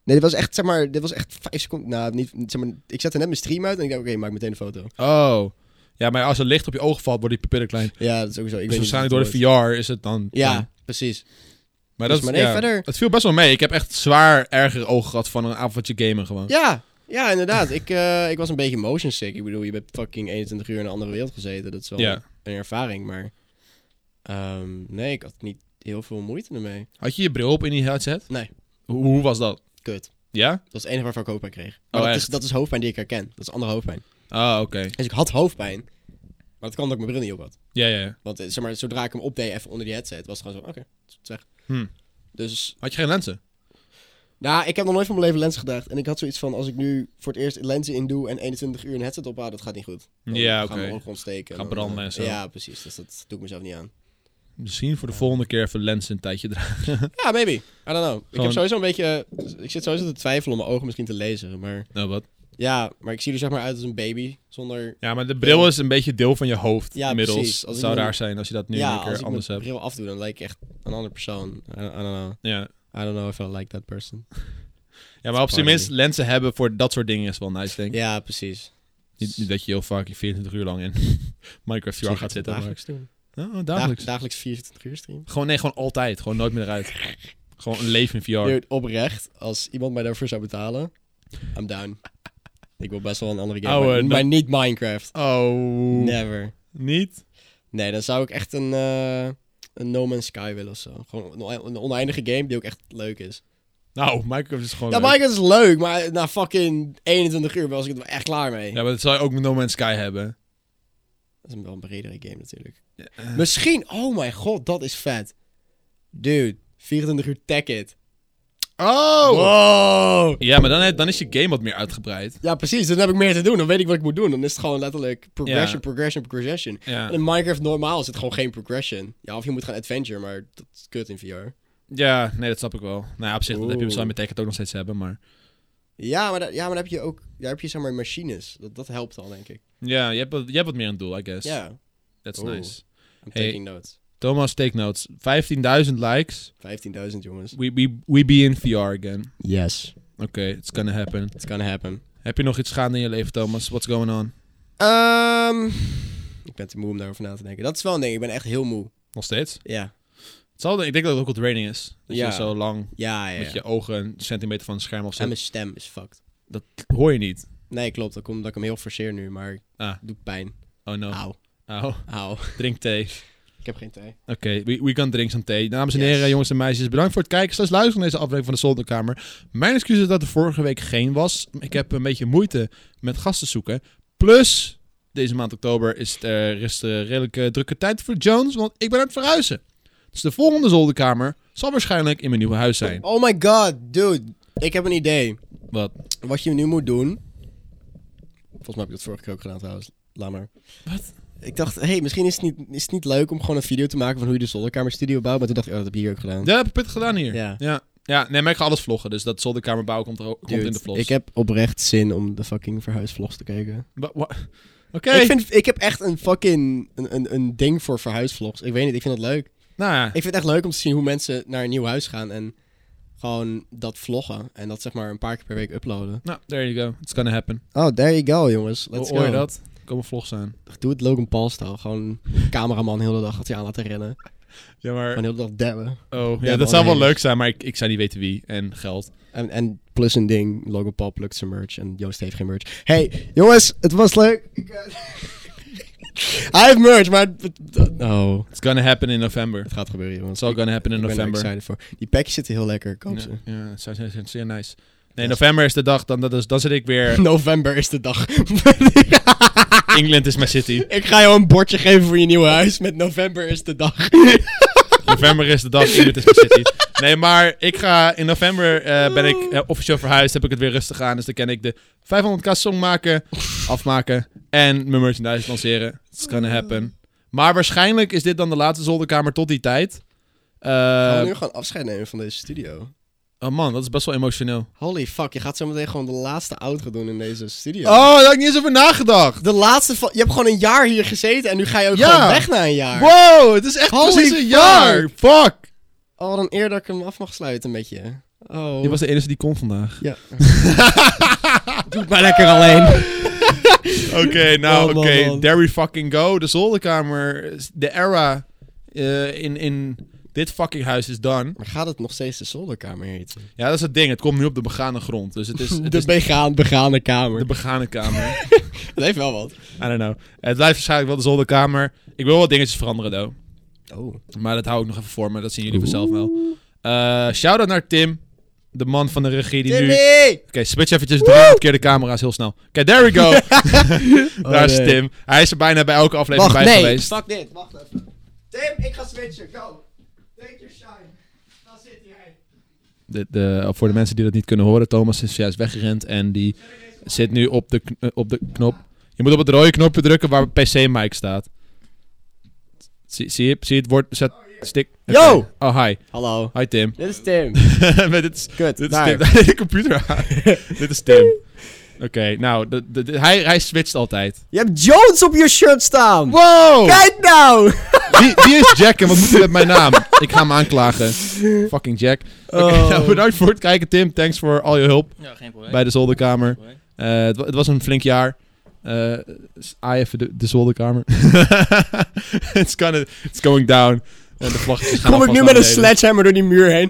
Speaker 2: Nee, dit was echt, zeg maar, dit was echt vijf seconden... Nou, niet, zeg maar, ik zette net mijn stream uit en ik dacht, oké, maak meteen een foto.
Speaker 1: Oh. Ja, maar als er licht op je ogen valt, worden die pupillen klein.
Speaker 2: Ja, dat is ook zo.
Speaker 1: Dus
Speaker 2: Ik weet niet
Speaker 1: waarschijnlijk
Speaker 2: hoe
Speaker 1: door
Speaker 2: het
Speaker 1: de VR is het dan...
Speaker 2: wordt.
Speaker 1: klein.
Speaker 2: Ja, precies.
Speaker 1: Maar,
Speaker 2: Dus
Speaker 1: dat,
Speaker 2: maar
Speaker 1: maar
Speaker 2: nee,
Speaker 1: ja,
Speaker 2: verder.
Speaker 1: Het viel best wel mee. Ik heb echt zwaar erger ogen gehad van een avondje gamen gewoon.
Speaker 2: Ja, ja inderdaad. ik, eh, ik was een beetje motion sick. Ik bedoel, je bent fucking 21 uur in een andere wereld gezeten. Dat is wel
Speaker 1: Ja.
Speaker 2: een ervaring, maar... ehm, nee, ik had niet heel veel moeite ermee.
Speaker 1: Had je je bril op in die headset?
Speaker 2: Nee.
Speaker 1: Hoe, hoe was dat?
Speaker 2: Kut.
Speaker 1: Ja?
Speaker 2: Dat is het enige waarvan ik hoofdpijn kreeg. Maar
Speaker 1: Oh,
Speaker 2: dat, is,
Speaker 1: echt?
Speaker 2: dat is hoofdpijn die ik herken. Dat is andere hoofdpijn.
Speaker 1: Ah, oké.
Speaker 2: Dus ik had hoofdpijn, maar het kan dat ik mijn bril niet op had.
Speaker 1: Ja, ja, ja.
Speaker 2: Want eh, zeg maar, zodra ik hem opdeed even onder die headset, was het gewoon zo, oké, dat is weg.
Speaker 1: Hm.
Speaker 2: Dus,
Speaker 1: Had je geen lenzen?
Speaker 2: nou, ik heb nog nooit van mijn leven lenzen gedaagd. En ik had zoiets van, als ik nu voor het eerst lenzen in doe en 21 uur een headset op haal, dat gaat niet goed. Dan
Speaker 1: Ja,
Speaker 2: gaan
Speaker 1: oké.
Speaker 2: mijn ogen ontsteken.
Speaker 1: Gaan
Speaker 2: Dan,
Speaker 1: branden
Speaker 2: eh,
Speaker 1: en zo.
Speaker 2: Ja, precies. Dus dat doe ik mezelf niet aan.
Speaker 1: Misschien voor de volgende keer even lenzen een tijdje dragen.
Speaker 2: Ja, maybe. I don't know. Ik heb
Speaker 1: Gewoon-
Speaker 2: sowieso een beetje, eh, ik zit sowieso te twijfelen om mijn ogen misschien te lezen. Maar
Speaker 1: Nou, wat?
Speaker 2: ja, maar ik zie er zeg maar uit als een baby, zonder...
Speaker 1: Ja, maar de bril is een beetje deel van je hoofd
Speaker 2: Ja,
Speaker 1: inmiddels.
Speaker 2: precies. Als
Speaker 1: Het
Speaker 2: ik
Speaker 1: zou
Speaker 2: mijn-
Speaker 1: raar zijn als je dat nu
Speaker 2: ja,
Speaker 1: een keer
Speaker 2: als ik
Speaker 1: anders
Speaker 2: mijn
Speaker 1: hebt.
Speaker 2: bril afdoe, dan lijk ik echt een ander persoon. I don't, I don't know.
Speaker 1: Ja.
Speaker 2: I don't know if I like that person.
Speaker 1: ja, maar op zijn
Speaker 2: Pardon
Speaker 1: minst lenzen hebben voor dat soort dingen is wel nice, denk ik.
Speaker 2: Ja, precies.
Speaker 1: Niet, niet dat je heel vaak je 24 uur lang in Minecraft VR gaat zitten. maar-
Speaker 2: Dagelijks doen.
Speaker 1: Oh, oh,
Speaker 2: Dagelijks,
Speaker 1: dagelijks.
Speaker 2: dagelijks 24 uur stream.
Speaker 1: Gewoon, nee, gewoon altijd. Gewoon nooit meer eruit. Gewoon een leven in VR.
Speaker 2: Dude, oprecht, als iemand mij daarvoor zou betalen, I'm down. Ik wil best wel een andere game,
Speaker 1: Ouwe,
Speaker 2: maar,
Speaker 1: dan-
Speaker 2: maar niet Minecraft.
Speaker 1: Oh.
Speaker 2: Never.
Speaker 1: Niet?
Speaker 2: Nee, dan zou ik echt een, eh, een No Man's Sky willen of zo. Gewoon een, one- een oneindige game die ook echt leuk is.
Speaker 1: Nou, Minecraft is gewoon
Speaker 2: Ja,
Speaker 1: leuk.
Speaker 2: Minecraft is leuk, maar na fucking 21 uur was ik er echt klaar mee.
Speaker 1: Ja, maar dat zou je ook met No Man's Sky hebben.
Speaker 2: Dat is een wel een bredere game natuurlijk. Misschien, oh mijn god, dat is vet. Dude, 24 uur Tech It.
Speaker 1: Oh!
Speaker 2: Wow!
Speaker 1: Ja, maar dan, dan is je game wat meer uitgebreid.
Speaker 2: Ja, precies. Dan heb ik meer te doen. Dan weet ik wat ik moet doen. Dan is het gewoon letterlijk progression,
Speaker 1: Ja.
Speaker 2: progression, progression.
Speaker 1: Ja,
Speaker 2: En in Minecraft normaal is het gewoon geen progression. Ja, of je moet gaan adventure, maar dat is kut in VR.
Speaker 1: ja nee, dat snap ik wel. Nou ja, op zich, dat heb je
Speaker 2: Oeh.
Speaker 1: waarschijnlijk met Tekken ook nog steeds hebben, maar...
Speaker 2: Ja, maar, da- ja, maar dan heb je ook, daar heb je zeg maar machines. Dat, dat helpt al, denk ik.
Speaker 1: Ja, je hebt, wat- je hebt wat meer een doel, I guess.
Speaker 2: Ja,
Speaker 1: That's
Speaker 2: Oeh.
Speaker 1: nice.
Speaker 2: I'm
Speaker 1: Dus Hey.
Speaker 2: taking notes.
Speaker 1: Thomas, take notes. 15.000 likes.
Speaker 2: 15.000 jongens.
Speaker 1: We, we, we be in VR again.
Speaker 2: Yes.
Speaker 1: Oké, it's gonna happen.
Speaker 2: It's gonna happen.
Speaker 1: Heb je nog iets gaande in je leven, Thomas? What's going on?
Speaker 2: Ehm, ik ben te moe om daarover na te denken. Dat is wel een ding. Ik ben echt heel moe.
Speaker 1: Nog steeds?
Speaker 2: Ja.
Speaker 1: Het zal, ik denk dat het ook wel training is. Dat
Speaker 2: Ja.
Speaker 1: je zo lang
Speaker 2: Ja, ja.
Speaker 1: met
Speaker 2: ja.
Speaker 1: je ogen een centimeter van het scherm of
Speaker 2: En
Speaker 1: zo.
Speaker 2: mijn stem is fucked.
Speaker 1: Dat hoor je niet.
Speaker 2: Nee, klopt. Dat komt omdat ik hem heel forceer nu, maar het
Speaker 1: Ah.
Speaker 2: doet pijn.
Speaker 1: Oh no.
Speaker 2: Auw.
Speaker 1: Au.
Speaker 2: Auw.
Speaker 1: Drink thee.
Speaker 2: Ik heb geen thee.
Speaker 1: Oké, we, we gaan drinken some thee. Dames en
Speaker 2: Yes.
Speaker 1: heren, jongens en meisjes, bedankt voor het kijken. Slash luisteren naar deze aflevering van de Zolderkamer. Mijn excuus is dat er vorige week geen was. Ik heb een beetje moeite met gasten zoeken. Plus, deze maand oktober is het eh, is het, eh, redelijk eh, drukke tijd voor Jones, want ik ben aan het verhuizen. Dus de volgende Zolderkamer zal waarschijnlijk in mijn nieuwe huis zijn.
Speaker 2: Oh my god, dude. Ik heb een idee.
Speaker 1: Wat?
Speaker 2: Wat je nu moet doen. Volgens mij heb ik dat vorige keer ook gedaan trouwens. Laat maar.
Speaker 1: Wat?
Speaker 2: Ik dacht, hé, hey, misschien is het, niet, is het niet leuk om gewoon een video te maken van hoe je de zolderkamerstudio bouwt. Maar toen dacht ik, oh, dat heb je hier ook gedaan.
Speaker 1: Ja, heb ik pittig gedaan hier.
Speaker 2: Ja.
Speaker 1: ja. Ja, nee, maar ik ga alles vloggen, dus dat Zolderkamer bouwen komt, er ook- komt
Speaker 2: Dude,
Speaker 1: in de vlogs.
Speaker 2: Ik heb oprecht zin om de fucking verhuisvlogs te kijken.
Speaker 1: Wa- wa- Oké.
Speaker 2: Ik, vind, ik heb echt een fucking een, een, een ding voor verhuisvlogs. Ik weet niet, ik vind dat leuk.
Speaker 1: Nou ja.
Speaker 2: Ik vind het echt leuk om te zien hoe mensen naar een nieuw huis gaan en gewoon dat vloggen. En dat zeg maar een paar keer per week uploaden.
Speaker 1: Nou, there you go. It's gonna happen.
Speaker 2: Oh, there you go, jongens.
Speaker 1: Hoe
Speaker 2: Let's
Speaker 1: hoor je
Speaker 2: go.
Speaker 1: dat? Er komen vlogs aan.
Speaker 2: Doe het Logan Paul stijl. Gewoon cameraman heel de dag gaat hij aan laten rennen.
Speaker 1: Ja, maar...
Speaker 2: Gewoon heel de dag dabben.
Speaker 1: Oh,
Speaker 2: Ja,
Speaker 1: ja, dat
Speaker 2: wel
Speaker 1: zou wel
Speaker 2: nee.
Speaker 1: leuk zijn, maar ik, ik zou niet weten wie en geld.
Speaker 2: En, en plus een ding, Logan Paul plukt zijn merch en Joost heeft geen merch. Hey, jongens, het was leuk. Ik, eh, hij heeft merch, maar... het- het- Oh,
Speaker 1: It's gonna happen in november.
Speaker 2: het gaat gebeuren, jongens.
Speaker 1: It's all gonna happen in
Speaker 2: Ik ben er
Speaker 1: november.
Speaker 2: excited voor. Die packjes zitten heel lekker, koop
Speaker 1: Ja,
Speaker 2: ze.
Speaker 1: ja, het zou zijn- zijn zeer nice. Nee,
Speaker 2: Oh, Ja.
Speaker 1: november is de dag, dan, dat is, dan zit ik weer...
Speaker 2: November is de dag.
Speaker 1: England is mijn city.
Speaker 2: ik ga jou een bordje geven voor je nieuwe huis met november is de
Speaker 1: Eh,
Speaker 2: dag.
Speaker 1: November is de dag, England is mijn city. Nee, maar ik ga... In november eh, ben ik eh, officieel verhuisd, heb ik het weer rustig aan. Dus dan kan ik de 500k song maken, afmaken en mijn merchandise lanceren. It's gonna happen. Maar waarschijnlijk is dit dan de laatste zolderkamer tot die tijd. Eh,
Speaker 2: Gaan we nu gewoon afscheid nemen van deze studio?
Speaker 1: oh man, dat is best wel emotioneel.
Speaker 2: Holy fuck, je gaat zo meteen gewoon de laatste outro doen in deze studio.
Speaker 1: Oh, daar heb ik niet eens over nagedacht.
Speaker 2: De laatste van... Je hebt gewoon een jaar hier gezeten en nu ga je ook
Speaker 1: Ja.
Speaker 2: gewoon weg na een jaar.
Speaker 1: Wow, het is echt
Speaker 2: Holy
Speaker 1: precies een
Speaker 2: fuck.
Speaker 1: jaar. Fuck.
Speaker 2: Oh, dan eer dat ik hem af mag sluiten met je. Oh.
Speaker 1: Je was de enige die kon vandaag.
Speaker 2: Ja. Doe het maar lekker alleen.
Speaker 1: Oké, nou
Speaker 2: Oh,
Speaker 1: oké.
Speaker 2: man, man.
Speaker 1: There we fucking go. De zolderkamer. De era eh, in, in dit fucking huis is done.
Speaker 2: Maar gaat het nog steeds de zolderkamer heten?
Speaker 1: Ja, dat is het ding. Het komt nu op de begane grond. Dus het is, het
Speaker 2: de
Speaker 1: is
Speaker 2: begaan, begane kamer.
Speaker 1: de begane kamer.
Speaker 2: Dat heeft wel wat.
Speaker 1: I don't know. Het blijft waarschijnlijk wel de zolderkamer. Ik wil wat dingetjes veranderen, though.
Speaker 2: Oh.
Speaker 1: Maar dat hou ik nog even voor me. Dat zien jullie vanzelf wel. Eh Shout-out naar Tim. De man van de regie die nu... Oké,
Speaker 2: Timmy!
Speaker 1: switch eventjes 300 keer de camera's heel snel. Oké, there we go. Daar is
Speaker 2: Oh, nee.
Speaker 1: Tim. Hij is er bijna bij elke aflevering
Speaker 2: Wacht,
Speaker 1: bij
Speaker 2: nee.
Speaker 1: geweest.
Speaker 2: Fuck dit, wacht even. Tim, ik ga switchen, go. Take your shine. Dan zit hij.
Speaker 1: De, de- voor de mensen die dat niet kunnen horen, Thomas is juist weggerend en die zit nu op de, kn- eh, op de knop. Je moet op het rode knopje drukken waar PC-mic staat. Zie, zie, je, zie je het woord? Zet, stick. Oké.
Speaker 2: Yo!
Speaker 1: Oh, hi.
Speaker 2: Hallo.
Speaker 1: Hi, Tim.
Speaker 2: Dit is Tim.
Speaker 1: Maar dit is,
Speaker 2: Kut,
Speaker 1: dit is
Speaker 2: daar.
Speaker 1: Tim. de computer aan. dit is Tim. Oké, nou, de, de- de- hij, hij switcht altijd.
Speaker 2: Je hebt Jones op je shirt staan.
Speaker 1: Wow!
Speaker 2: Kijk nou!
Speaker 1: Wie, wie is Jack en wat moet hij met mijn naam? Ik ga hem aanklagen. Fucking Jack. Oké,
Speaker 2: Oh.
Speaker 1: nou, bedankt voor het kijken, Tim. Thanks voor al je hulp.
Speaker 5: Ja, geen probleem.
Speaker 1: bij de zolderkamer.
Speaker 5: Geen probleem.
Speaker 1: Eh, het, wa- het was een flink jaar. Eh s- Aai even de, de zolderkamer. it's, gonna, it's going down. En de vlaggetjes gaan
Speaker 2: Kom ik
Speaker 1: alvast
Speaker 2: nu met
Speaker 1: naar
Speaker 2: een
Speaker 1: beneden.
Speaker 2: sledgehammer door die muur heen?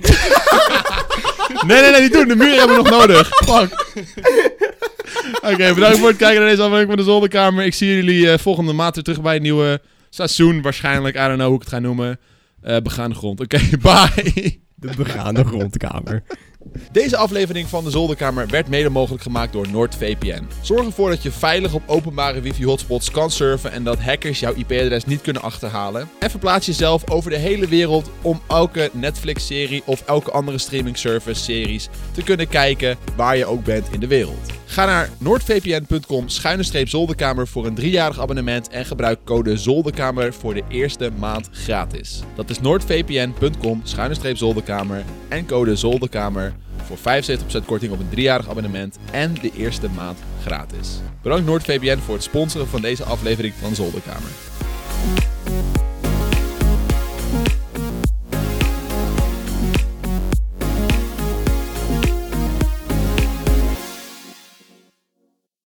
Speaker 1: Nee, nee, nee, niet doen. De muur hebben we nog nodig. Fuck. Oké, bedankt voor het kijken naar deze aflevering van de Zolderkamer. Ik zie jullie eh, volgende maand weer terug bij een nieuwe seizoen. Waarschijnlijk, I don't know hoe ik het ga noemen. Eh begaande grond. Oké, bye.
Speaker 2: De begaande grondkamer.
Speaker 3: Deze aflevering van de Zolderkamer werd mede mogelijk gemaakt door NordVPN. Zorg ervoor dat je veilig op openbare wifi-hotspots kan surfen en dat hackers jouw IP-adres niet kunnen achterhalen. En verplaats jezelf over de hele wereld om elke Netflix-serie of elke andere streaming-service-series te kunnen kijken waar je ook bent in de wereld. Ga naar noordvpn.com zolderkamer voor een driejarig abonnement en gebruik code zolderkamer voor de eerste maand gratis. Dat is noordvpn.com zolderkamer en code zolderkamer voor 75% korting op een driejarig abonnement en de eerste maand gratis. Bedankt NoordVPN voor het sponsoren van deze aflevering van Zolderkamer.